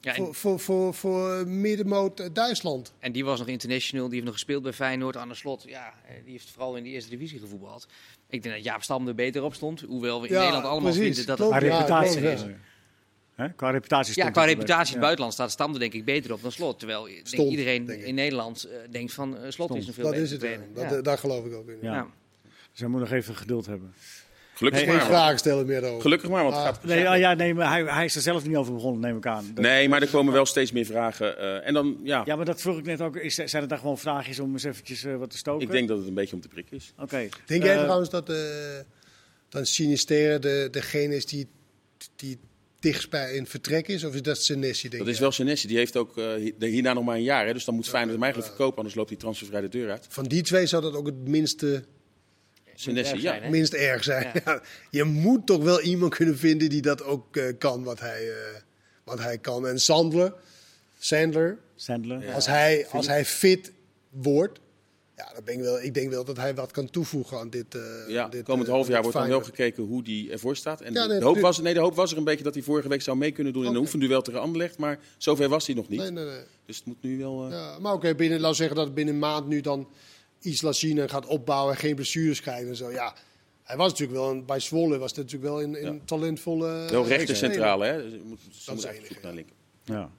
Speaker 4: Ja, en,
Speaker 3: voor, voor, voor, voor middenmoot eh, Duitsland.
Speaker 4: en die was nog international, die heeft nog gespeeld bij Feyenoord. Aan de slot, ja, eh, die heeft vooral in de eerste divisie gevoetbald. Ik denk dat Jaap Stam er beter op stond. Hoewel we in
Speaker 3: Ja,
Speaker 4: Nederland allemaal
Speaker 3: precies,
Speaker 4: vinden dat
Speaker 3: klopt.
Speaker 1: Maar
Speaker 3: Ja,
Speaker 1: reputatie.
Speaker 3: klopt, ja.
Speaker 1: Hè? Qua reputatie
Speaker 4: Ja,
Speaker 1: stond
Speaker 4: qua
Speaker 1: het er
Speaker 4: reputatie in
Speaker 1: beter.
Speaker 4: het buitenland staat Stam er denk ik beter op dan Slot. Terwijl ik denk
Speaker 3: Stond,
Speaker 4: iedereen
Speaker 3: denk ik.
Speaker 4: in Nederland eh, denkt van eh, Slot is een veel
Speaker 3: dat
Speaker 4: betere
Speaker 3: is het.
Speaker 4: trainer.
Speaker 3: eh, Dat,
Speaker 4: Ja.
Speaker 3: eh, Daar geloof ik ook in. Dus
Speaker 1: Ja.
Speaker 4: Ja.
Speaker 1: Dus hij moet nog even geduld hebben.
Speaker 2: Gelukkig
Speaker 3: Geen
Speaker 2: maar. want-
Speaker 3: vragen stellen meer over.
Speaker 2: Gelukkig maar, want het
Speaker 3: Ah.
Speaker 2: gaat...
Speaker 1: Nee, ah, ja, nee maar hij, hij is er zelf niet over begonnen, neem ik aan. Dat-
Speaker 2: Nee, maar er komen wel steeds meer vragen. eh, en dan, ja,
Speaker 1: Ja, maar dat vroeg ik net ook. Is, zijn het daar gewoon vraagjes om eens eventjes eh, wat te stoken?
Speaker 2: ik denk dat het een beetje om te prikken is.
Speaker 1: Oké.
Speaker 3: Denk jij
Speaker 1: Eh,
Speaker 3: trouwens dat eh, dan Sinisterre de, degene is die, die dichtst bij een vertrek is? Of is dat Senesi, denk
Speaker 2: Dat is
Speaker 3: jij?
Speaker 2: wel Senesi. Die heeft ook eh, hi- hierna nog maar een jaar. Hè, dus dan moet Feyenoord hem eigenlijk verkopen, anders loopt hij transfervrij de deur uit.
Speaker 3: Van die twee zou dat ook het minste,
Speaker 2: Senesi, ja.
Speaker 4: zijn, hè?
Speaker 3: minst erg zijn. Ja, *laughs* Je moet toch wel iemand kunnen vinden die dat ook eh, kan, wat hij, eh, wat hij kan. En Sandler, Sandler
Speaker 1: Sandler.
Speaker 3: Als, hij, als hij fit wordt, ja, dan ben ik, wel, ik denk wel dat hij wat kan toevoegen aan dit. eh,
Speaker 2: Ja,
Speaker 3: aan dit
Speaker 2: komend
Speaker 3: eh,
Speaker 2: half jaar
Speaker 3: dit
Speaker 2: wordt dan wel
Speaker 3: Feyenoord.
Speaker 2: gekeken hoe die ervoor staat. En
Speaker 3: Ja,
Speaker 2: de,
Speaker 3: nee,
Speaker 2: hoop
Speaker 3: nu-
Speaker 2: was, nee, de hoop was er een beetje dat hij vorige week zou mee kunnen doen in een
Speaker 3: Oké.
Speaker 2: oefenduel tegen Anderlecht. Maar zover was hij nog niet.
Speaker 3: Nee, nee, nee.
Speaker 2: Dus het moet nu wel... eh,
Speaker 3: Ja, maar oké, binnen, laten we zeggen dat het binnen een maand nu dan iets laat zien en gaat opbouwen en geen blessures krijgt en zo. Ja, hij was natuurlijk wel, een- bij Zwolle was het natuurlijk wel een, een
Speaker 2: Ja.
Speaker 3: talentvolle...
Speaker 2: Wel
Speaker 3: eh,
Speaker 2: rechter
Speaker 3: speler.
Speaker 2: centraal, hè? Dus je moet- Ze
Speaker 3: Dat is
Speaker 2: moeten
Speaker 3: eigenlijk,
Speaker 2: eigenlijk zoeken naar linker.
Speaker 1: Ja.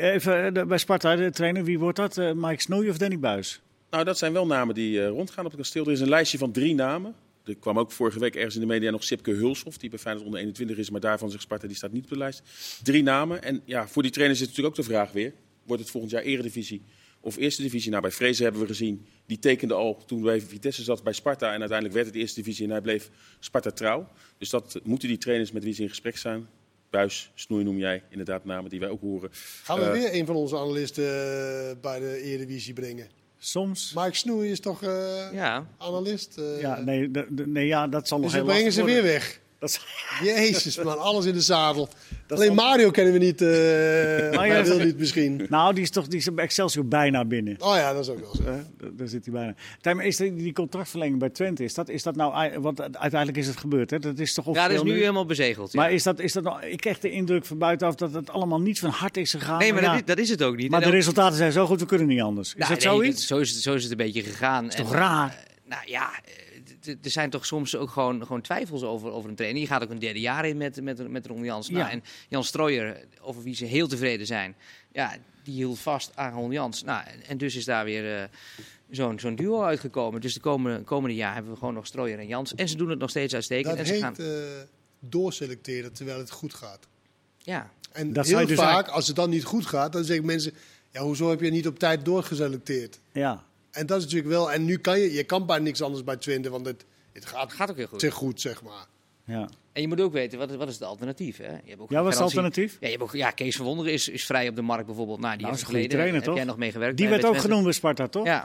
Speaker 1: Hey, even eh, de- bij Sparta, de trainer, wie wordt dat? Eh, Mike Snoei of Danny Buis?
Speaker 2: Nou, dat zijn wel namen die eh, rondgaan op het kasteel. Er is een lijstje van drie namen. Er kwam ook vorige week ergens in de media nog Sipke Hulshoff, die bij Feyenoord onder 21 is, maar daarvan zegt Sparta, die staat niet op de lijst. Drie namen. En ja, voor die trainers is natuurlijk ook de vraag weer, wordt het volgend jaar eredivisie of eerste divisie? Nou, bij Vrezen hebben we gezien, die tekende al toen bij Vitesse zat bij Sparta en uiteindelijk werd het eerste divisie en hij bleef Sparta trouw. Dus dat moeten die trainers met wie ze in gesprek zijn. Buis, Snoei noem jij, inderdaad namen die wij ook horen.
Speaker 3: Gaan we
Speaker 2: Eh,
Speaker 3: weer een van onze analisten eh, bij de Eredivisie brengen.
Speaker 1: Soms.
Speaker 3: Mike Snoei is toch eh,
Speaker 4: Ja.
Speaker 3: analist? eh,
Speaker 1: Ja, nee, de- de- nee, ja, dat zal nog
Speaker 3: Dus
Speaker 1: heel
Speaker 3: we brengen
Speaker 1: lastig
Speaker 3: ze weer
Speaker 1: worden.
Speaker 3: weg.
Speaker 1: Dat zal-
Speaker 3: Jezus man, alles in de zadel.
Speaker 1: Dat
Speaker 3: Alleen
Speaker 1: is al-
Speaker 3: Mario kennen we niet. eh
Speaker 1: Mario
Speaker 3: hij
Speaker 1: is-
Speaker 3: wil niet misschien.
Speaker 1: nou, die is toch die is bij Excelsior bijna binnen.
Speaker 3: Oh ja, dat is ook wel zo.
Speaker 1: Eh, d- daar zit hij bijna. Tij, maar is die, die contractverlenging bij Twente, is dat, is dat nou... ei- Want uiteindelijk is het gebeurd, hè? Dat is toch
Speaker 4: Ja, dat
Speaker 1: officieel
Speaker 4: is nu helemaal bezegeld. ja.
Speaker 1: Maar is dat, is dat nou, ik kreeg de indruk van buitenaf dat het allemaal niet van hart is gegaan.
Speaker 4: nee, maar
Speaker 1: ja,
Speaker 4: dat, is, dat is het ook niet.
Speaker 1: maar
Speaker 4: En
Speaker 1: de
Speaker 4: ook-
Speaker 1: resultaten zijn zo goed, we kunnen niet anders. Is
Speaker 4: Nou,
Speaker 1: dat
Speaker 4: nee,
Speaker 1: zoiets?
Speaker 4: Zo is, het, zo is het een beetje gegaan.
Speaker 1: is toch raar?
Speaker 4: nou ja, eh, d- d- er zijn toch soms ook gewoon, gewoon twijfels over, over een trainer. Je gaat ook een derde jaar in met, met, met Ron Jans. Nou,
Speaker 1: Ja.
Speaker 4: En Jan Strooijer, over wie ze heel tevreden zijn, ja, die hield vast aan Ron Jans. Nou, en, en dus is daar weer eh, zo'n zo'n duo uitgekomen. Dus de komende, komende jaar hebben we gewoon nog Strooijer en Jans. En ze doen het nog steeds uitstekend.
Speaker 3: Dat
Speaker 4: en ze gaan,
Speaker 3: heet eh, doorselecteren terwijl het goed gaat.
Speaker 4: ja.
Speaker 3: En
Speaker 1: Dat zou
Speaker 3: heel
Speaker 1: je dus
Speaker 3: vaak,
Speaker 1: eigenlijk-
Speaker 3: als het dan niet goed gaat, dan zeggen mensen... Ja, hoezo heb je niet op tijd doorgeselecteerd?
Speaker 1: Ja.
Speaker 3: En dat is natuurlijk wel... En nu kan je... Je kan bij niks anders bij Twente, want het, het gaat,
Speaker 4: Het gaat ook heel goed.
Speaker 3: te goed, zeg maar.
Speaker 1: Ja.
Speaker 4: En je moet ook weten, wat, is- wat is het alternatief? Hè? Je hebt ook
Speaker 1: Ja, wat is het
Speaker 4: garantie-
Speaker 1: alternatief?
Speaker 4: Ja, je hebt ook, ja, Kees van Wonderen is, is vrij op de markt bijvoorbeeld. Nou, die
Speaker 1: Nou,
Speaker 4: heeft
Speaker 1: is een goede
Speaker 4: geleden-
Speaker 1: trainer,
Speaker 4: Heb
Speaker 1: toch?
Speaker 4: jij nog mee gewerkt?
Speaker 1: Die
Speaker 4: bij-
Speaker 1: werd
Speaker 4: bij
Speaker 1: ook
Speaker 4: Twente?
Speaker 1: genoemd bij Sparta, toch?
Speaker 4: Ja,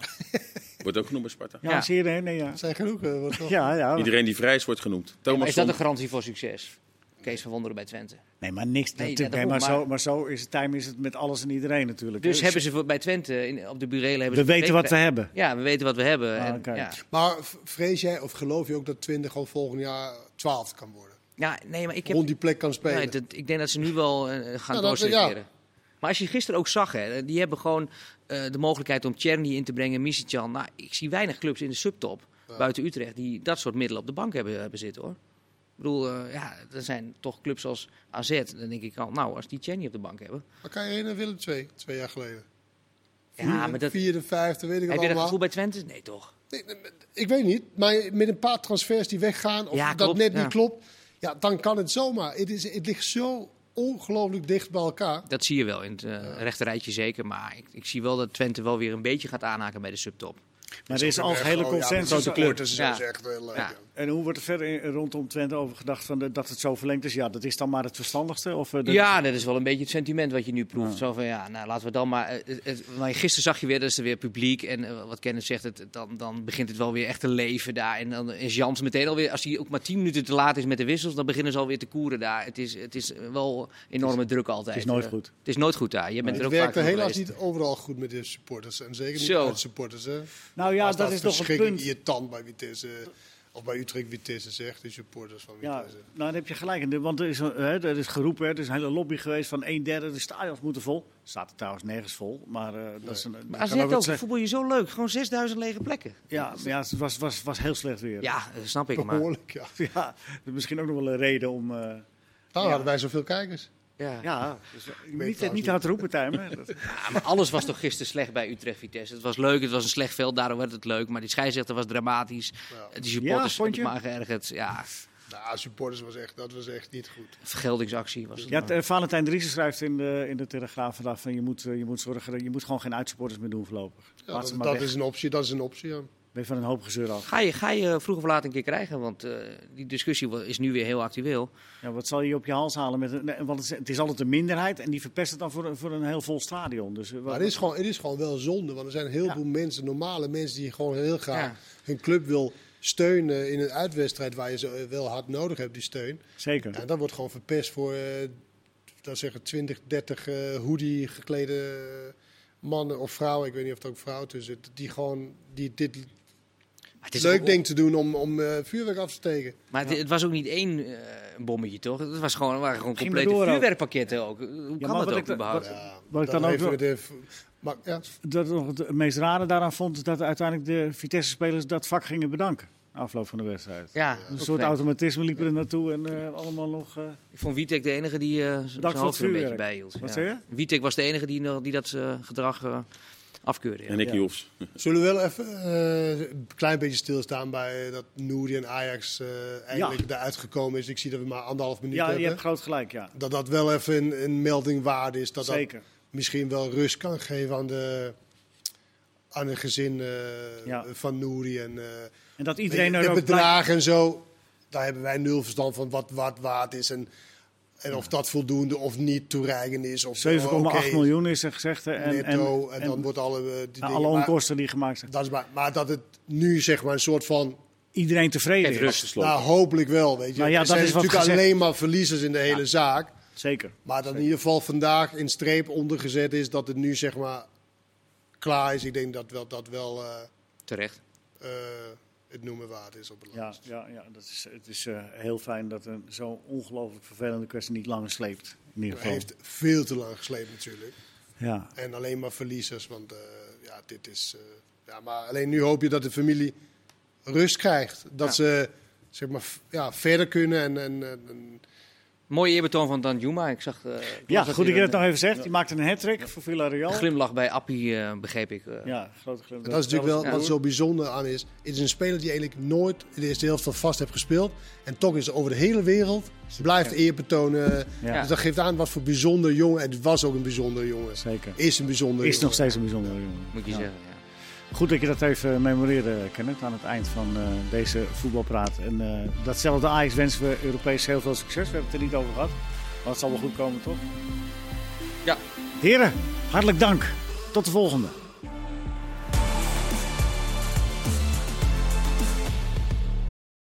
Speaker 2: Wordt ook genoemd bij Sparta.
Speaker 1: Ja,
Speaker 4: Ja.
Speaker 1: zie je nee, nee, ja.
Speaker 3: Dat zijn genoeg. eh, wat nog.
Speaker 1: Ja, ja.
Speaker 2: Iedereen die vrij is, wordt genoemd.
Speaker 4: maar
Speaker 2: Thomas
Speaker 4: is dat een garantie voor succes? Kees van Wonderen bij Twente.
Speaker 1: Nee, maar niks.
Speaker 4: Nee,
Speaker 1: natuurlijk,
Speaker 4: ja,
Speaker 1: hè, maar,
Speaker 4: daarom,
Speaker 1: Zo, maar zo is het, time is het met alles en iedereen natuurlijk.
Speaker 4: Dus
Speaker 1: hè.
Speaker 4: hebben ze voor- bij Twente in, op de burelen... Hebben
Speaker 1: we
Speaker 4: ze
Speaker 1: weten wat we hebben.
Speaker 4: Ja, we weten wat we hebben.
Speaker 1: Ah,
Speaker 4: en,
Speaker 1: kijk.
Speaker 4: ja.
Speaker 3: Maar v- vrees jij of geloof je ook dat 20 al volgend jaar 12 kan worden?
Speaker 4: ja, nee, maar ik heb...
Speaker 3: Rond die plek kan spelen.
Speaker 4: Nee, dat- ik denk dat ze nu wel eh, gaan
Speaker 3: Nou, dat-
Speaker 4: doorselecteren. Maar als je gisteren ook zag, hè, die hebben gewoon eh, de mogelijkheid om Tjerni in te brengen, Misicjan. Nou, ik zie weinig clubs in de subtop buiten Utrecht die dat soort middelen op de bank hebben, hebben zitten hoor. Ik bedoel, eh, ja, er zijn toch clubs als AZ. Dan denk ik al, nou, als die Tjerni op de bank hebben.
Speaker 3: Maar kan je heen naar Willem II, twee jaar geleden?
Speaker 4: Ja, maar dat, heb
Speaker 3: Vierde, vijfde, weet ik het
Speaker 4: je dat
Speaker 3: allemaal.
Speaker 4: gevoel bij Twente? Nee, toch?
Speaker 3: Nee, nee, maar Ik weet niet, maar met een paar transfers die weggaan of
Speaker 4: Ja,
Speaker 3: dat
Speaker 4: klopt,
Speaker 3: net
Speaker 4: ja.
Speaker 3: niet klopt, ja, dan kan het zomaar. Het, is, het ligt zo ongelooflijk dicht bij elkaar.
Speaker 4: Dat zie je wel in het eh rechterrijtje zeker. Maar ik, ik zie wel dat Twente wel weer een beetje gaat aanhaken bij de subtop.
Speaker 1: Maar er is altijd hele consensus.
Speaker 3: dus-
Speaker 4: Ja.
Speaker 3: is echt eh, heel leuk.
Speaker 4: Ja.
Speaker 1: En hoe wordt er verder in- rondom Twente over gedacht van de- dat het zo verlengd is? Ja, dat is dan maar het verstandigste? Of, eh, de-
Speaker 4: Ja, dat is wel een beetje het sentiment wat je nu proeft. Zo van ja, nou laten we dan maar. eh, het- het- maar gisteren zag je weer, dat is er weer publiek. En eh, wat Kenneth zegt, het, dan, dan begint het wel weer echt te leven daar. En dan is Jans meteen alweer, als hij ook maar 10 minuten te laat is met de wissels, dan beginnen ze alweer te koeren daar. Het is, het is wel enorme druk altijd.
Speaker 1: het is nooit
Speaker 4: Eh,
Speaker 1: goed.
Speaker 4: Het is nooit goed daar. Je bent
Speaker 3: Het
Speaker 4: er ook
Speaker 3: werkt
Speaker 4: vaak
Speaker 3: er
Speaker 4: genoeg
Speaker 3: helaas
Speaker 4: geweest.
Speaker 3: niet overal goed met de supporters. En zeker niet
Speaker 4: Zo.
Speaker 3: uit supporters. Hè.
Speaker 1: Nou ja,
Speaker 3: Als
Speaker 1: dat is toch een
Speaker 3: verschrikkelijk
Speaker 1: punt.
Speaker 3: irritant bij Vitesse. Of bij Utrecht Vitesse zegt, de supporters van
Speaker 1: Ja,
Speaker 3: Vitesse.
Speaker 1: nou dan heb je gelijk. in. Want er is, een- hè, er is geroepen, hè, er is een hele lobby geweest van een derde, de stadions moeten vol. Staat er trouwens nergens vol, maar eh, dat is een...
Speaker 4: Maar
Speaker 1: kan
Speaker 4: AZ
Speaker 1: wat
Speaker 4: ook,
Speaker 1: zeggen.
Speaker 4: voetbal je zo leuk. Gewoon 6000 lege plekken.
Speaker 1: Ja, maar ja, het was, was, was heel slecht weer.
Speaker 4: Ja, dat snap ik. Maar,
Speaker 3: Behoorlijk, ja.
Speaker 1: *laughs* Ja, dat is misschien ook nog wel een reden om... eh,
Speaker 3: Daar hadden wij zoveel kijkers.
Speaker 4: ja.
Speaker 1: ja, dus, niet,
Speaker 3: trouwens
Speaker 1: niet hard roepen, Tijmen. Dat-
Speaker 4: Ja, maar alles was toch gisteren slecht bij Utrecht-Vitesse. Het was leuk, het was een slecht veld, daarom werd het leuk. Maar die scheidsrechter was dramatisch. De supporters
Speaker 1: Ja, vond je?
Speaker 4: hebben maar geërgerd. Ja,
Speaker 3: Nou, supporters was echt, dat was echt niet goed.
Speaker 4: vergeldingsactie was het.
Speaker 1: Ja, t- eh, Valentijn Driessen schrijft in de, in de Telegraaf vandaag van je moet, eh, je moet zorgen, dat- je moet gewoon geen uitsupporters meer doen voorlopig.
Speaker 3: Ja,
Speaker 1: Laat
Speaker 3: dat
Speaker 1: ze maar
Speaker 3: dat
Speaker 1: weg.
Speaker 3: is een optie, dat is een optie, ja.
Speaker 1: Ben je van een hoop gezeur af.
Speaker 4: Ga je, ga je vroeg of laat een keer krijgen, want eh, die discussie wa- is nu weer heel actueel.
Speaker 1: Ja, wat zal je op je hals halen? Met een, nee, want het is, het is altijd een minderheid en die verpest het dan voor, een- voor een heel vol stadion. Dus, eh, wat-
Speaker 3: Maar het is, gewoon, het is gewoon wel zonde, want er zijn heel
Speaker 1: Ja.
Speaker 3: veel mensen, normale mensen, die gewoon heel graag
Speaker 4: Ja.
Speaker 3: hun club wil steunen in een uitwedstrijd waar je ze eh, wel hard nodig hebt, die steun.
Speaker 1: Zeker.
Speaker 3: Ja, dat wordt gewoon verpest voor eh dat zeggen 20, 30 eh hoodie geklede eh, mannen of vrouwen, ik weet niet of het ook vrouwen tussen zitten, die gewoon die dit
Speaker 4: Maar het is
Speaker 3: leuk
Speaker 4: ook-
Speaker 3: ding te doen om, om eh, vuurwerk af te steken.
Speaker 4: Maar het, het was ook niet één eh, bommetje, toch? Het was gewoon, waren gewoon
Speaker 1: Ging
Speaker 4: complete
Speaker 1: maar door ook.
Speaker 4: vuurwerkpakketten ook. Hoe
Speaker 1: maar
Speaker 4: kan
Speaker 1: wat
Speaker 4: dat
Speaker 1: ik
Speaker 4: ook
Speaker 1: da-
Speaker 4: überhaupt?
Speaker 1: wat-
Speaker 3: Ja,
Speaker 1: Wat ik dan ook
Speaker 3: heeft
Speaker 1: wel-
Speaker 3: de v- maar, ja,
Speaker 1: Dat nog het, het meest rare daaraan vond is dat uiteindelijk de Vitesse-spelers dat vak gingen bedanken. na Afloop van de wedstrijd.
Speaker 4: ja,
Speaker 1: Een
Speaker 4: ook
Speaker 1: soort
Speaker 4: vreemd.
Speaker 1: automatisme liep er naartoe en eh, allemaal nog... eh,
Speaker 4: Ik vond Witek de enige die eh zijn
Speaker 1: voor
Speaker 4: hoofd er een
Speaker 1: het
Speaker 4: beetje
Speaker 1: vuurwerk.
Speaker 4: bij hield.
Speaker 1: Wat
Speaker 4: ja.
Speaker 1: zei je?
Speaker 4: Wietek was de enige die, nog- die dat eh, gedrag eh, afkeurde. ja.
Speaker 2: En ik
Speaker 1: Ja.
Speaker 2: niet hoefs.
Speaker 3: Zullen we wel even eh, een klein beetje stilstaan bij eh, dat Nouri en Ajax eh, eindelijk eruit gekomen is? Ik zie dat we maar anderhalf minuut
Speaker 1: ja, je
Speaker 3: hebben.
Speaker 1: hebt groot gelijk, ja.
Speaker 3: Dat dat wel even een, een melding waard is. Dat
Speaker 1: Zeker.
Speaker 3: dat misschien wel rust kan geven aan de, aan het gezin eh,
Speaker 1: Ja.
Speaker 3: van Nouri. En, eh,
Speaker 1: En dat iedereen
Speaker 3: de
Speaker 1: er ook... blij-
Speaker 3: bedragen en zo. Daar hebben wij nul verstand van wat wat waard is. En, en of dat voldoende of niet toereigend is. Of
Speaker 1: 7,8
Speaker 3: Oh, oké,
Speaker 1: miljoen is er gezegd. hè, En,
Speaker 3: Netto. En,
Speaker 1: en,
Speaker 3: dan
Speaker 1: en
Speaker 3: wordt alle, eh, die dingen-
Speaker 1: Nou, alle
Speaker 3: maar-
Speaker 1: onkosten die gemaakt zijn.
Speaker 3: dat is maar, maar dat het nu zeg maar een soort van.
Speaker 1: Iedereen tevreden
Speaker 4: Geef
Speaker 1: is.
Speaker 4: rust.
Speaker 2: Gesloten.
Speaker 3: Nou, hopelijk wel. Weet je.
Speaker 1: Nou ja,
Speaker 3: er
Speaker 1: dat
Speaker 3: zijn
Speaker 1: is wat
Speaker 3: natuurlijk
Speaker 1: gezegd.
Speaker 3: alleen maar verliezers in de hele zaak.
Speaker 1: Zeker.
Speaker 3: Maar dat in ieder geval vandaag in streep ondergezet is dat het nu zeg maar klaar is. Ik denk dat wel, dat wel eh,
Speaker 4: Terecht.
Speaker 3: eh, het noemen waard is op het
Speaker 1: Ja,
Speaker 3: laatst.
Speaker 1: ja, ja dat is, het is eh, heel fijn dat een zo'n ongelooflijk vervelende kwestie niet langer sleept. In ieder
Speaker 3: Het
Speaker 1: geval.
Speaker 3: heeft veel te lang gesleept natuurlijk.
Speaker 1: Ja.
Speaker 3: En alleen maar verliezers. Want eh, ja, dit is. eh, ja, maar alleen nu hoop je dat de familie rust krijgt. Dat ze zeg maar, f- ja, verder kunnen en, en, en- en
Speaker 4: Mooie eerbetoon van Danjuma. Ik zag. eh,
Speaker 1: ja,
Speaker 4: Klaas had
Speaker 1: goed dat
Speaker 4: hier
Speaker 1: je
Speaker 4: een-
Speaker 1: dat nou nog even zegt. Die maakte een hat-trick voor
Speaker 4: Een
Speaker 1: Villarreal.
Speaker 4: glimlach bij Appie, eh, begreep ik. eh.
Speaker 1: Ja, grote glimlach.
Speaker 3: Dat, is natuurlijk wel
Speaker 4: Ja.
Speaker 3: wat zo bijzonder aan is. Het is een speler die eigenlijk nooit in de eerste helft van vast heeft gespeeld. En toch is er over de hele wereld blijft eer betonen.
Speaker 1: Ja.
Speaker 3: Dus dat geeft aan wat voor bijzonder jongen. En het was ook een bijzonder jongen.
Speaker 1: Zeker.
Speaker 3: Is een bijzonder
Speaker 1: Is
Speaker 3: jongen.
Speaker 1: nog steeds een bijzondere jongen.
Speaker 4: Moet je
Speaker 1: Ja.
Speaker 4: zeggen. Ja.
Speaker 1: Goed dat je dat even memoreerde, Kenneth, aan het eind van eh, deze voetbalpraat. En eh, datzelfde Ajax wensen we Europees heel veel succes. We hebben het er niet over gehad, maar het zal wel goed komen, toch?
Speaker 4: Ja.
Speaker 1: Heren, hartelijk dank. Tot de volgende.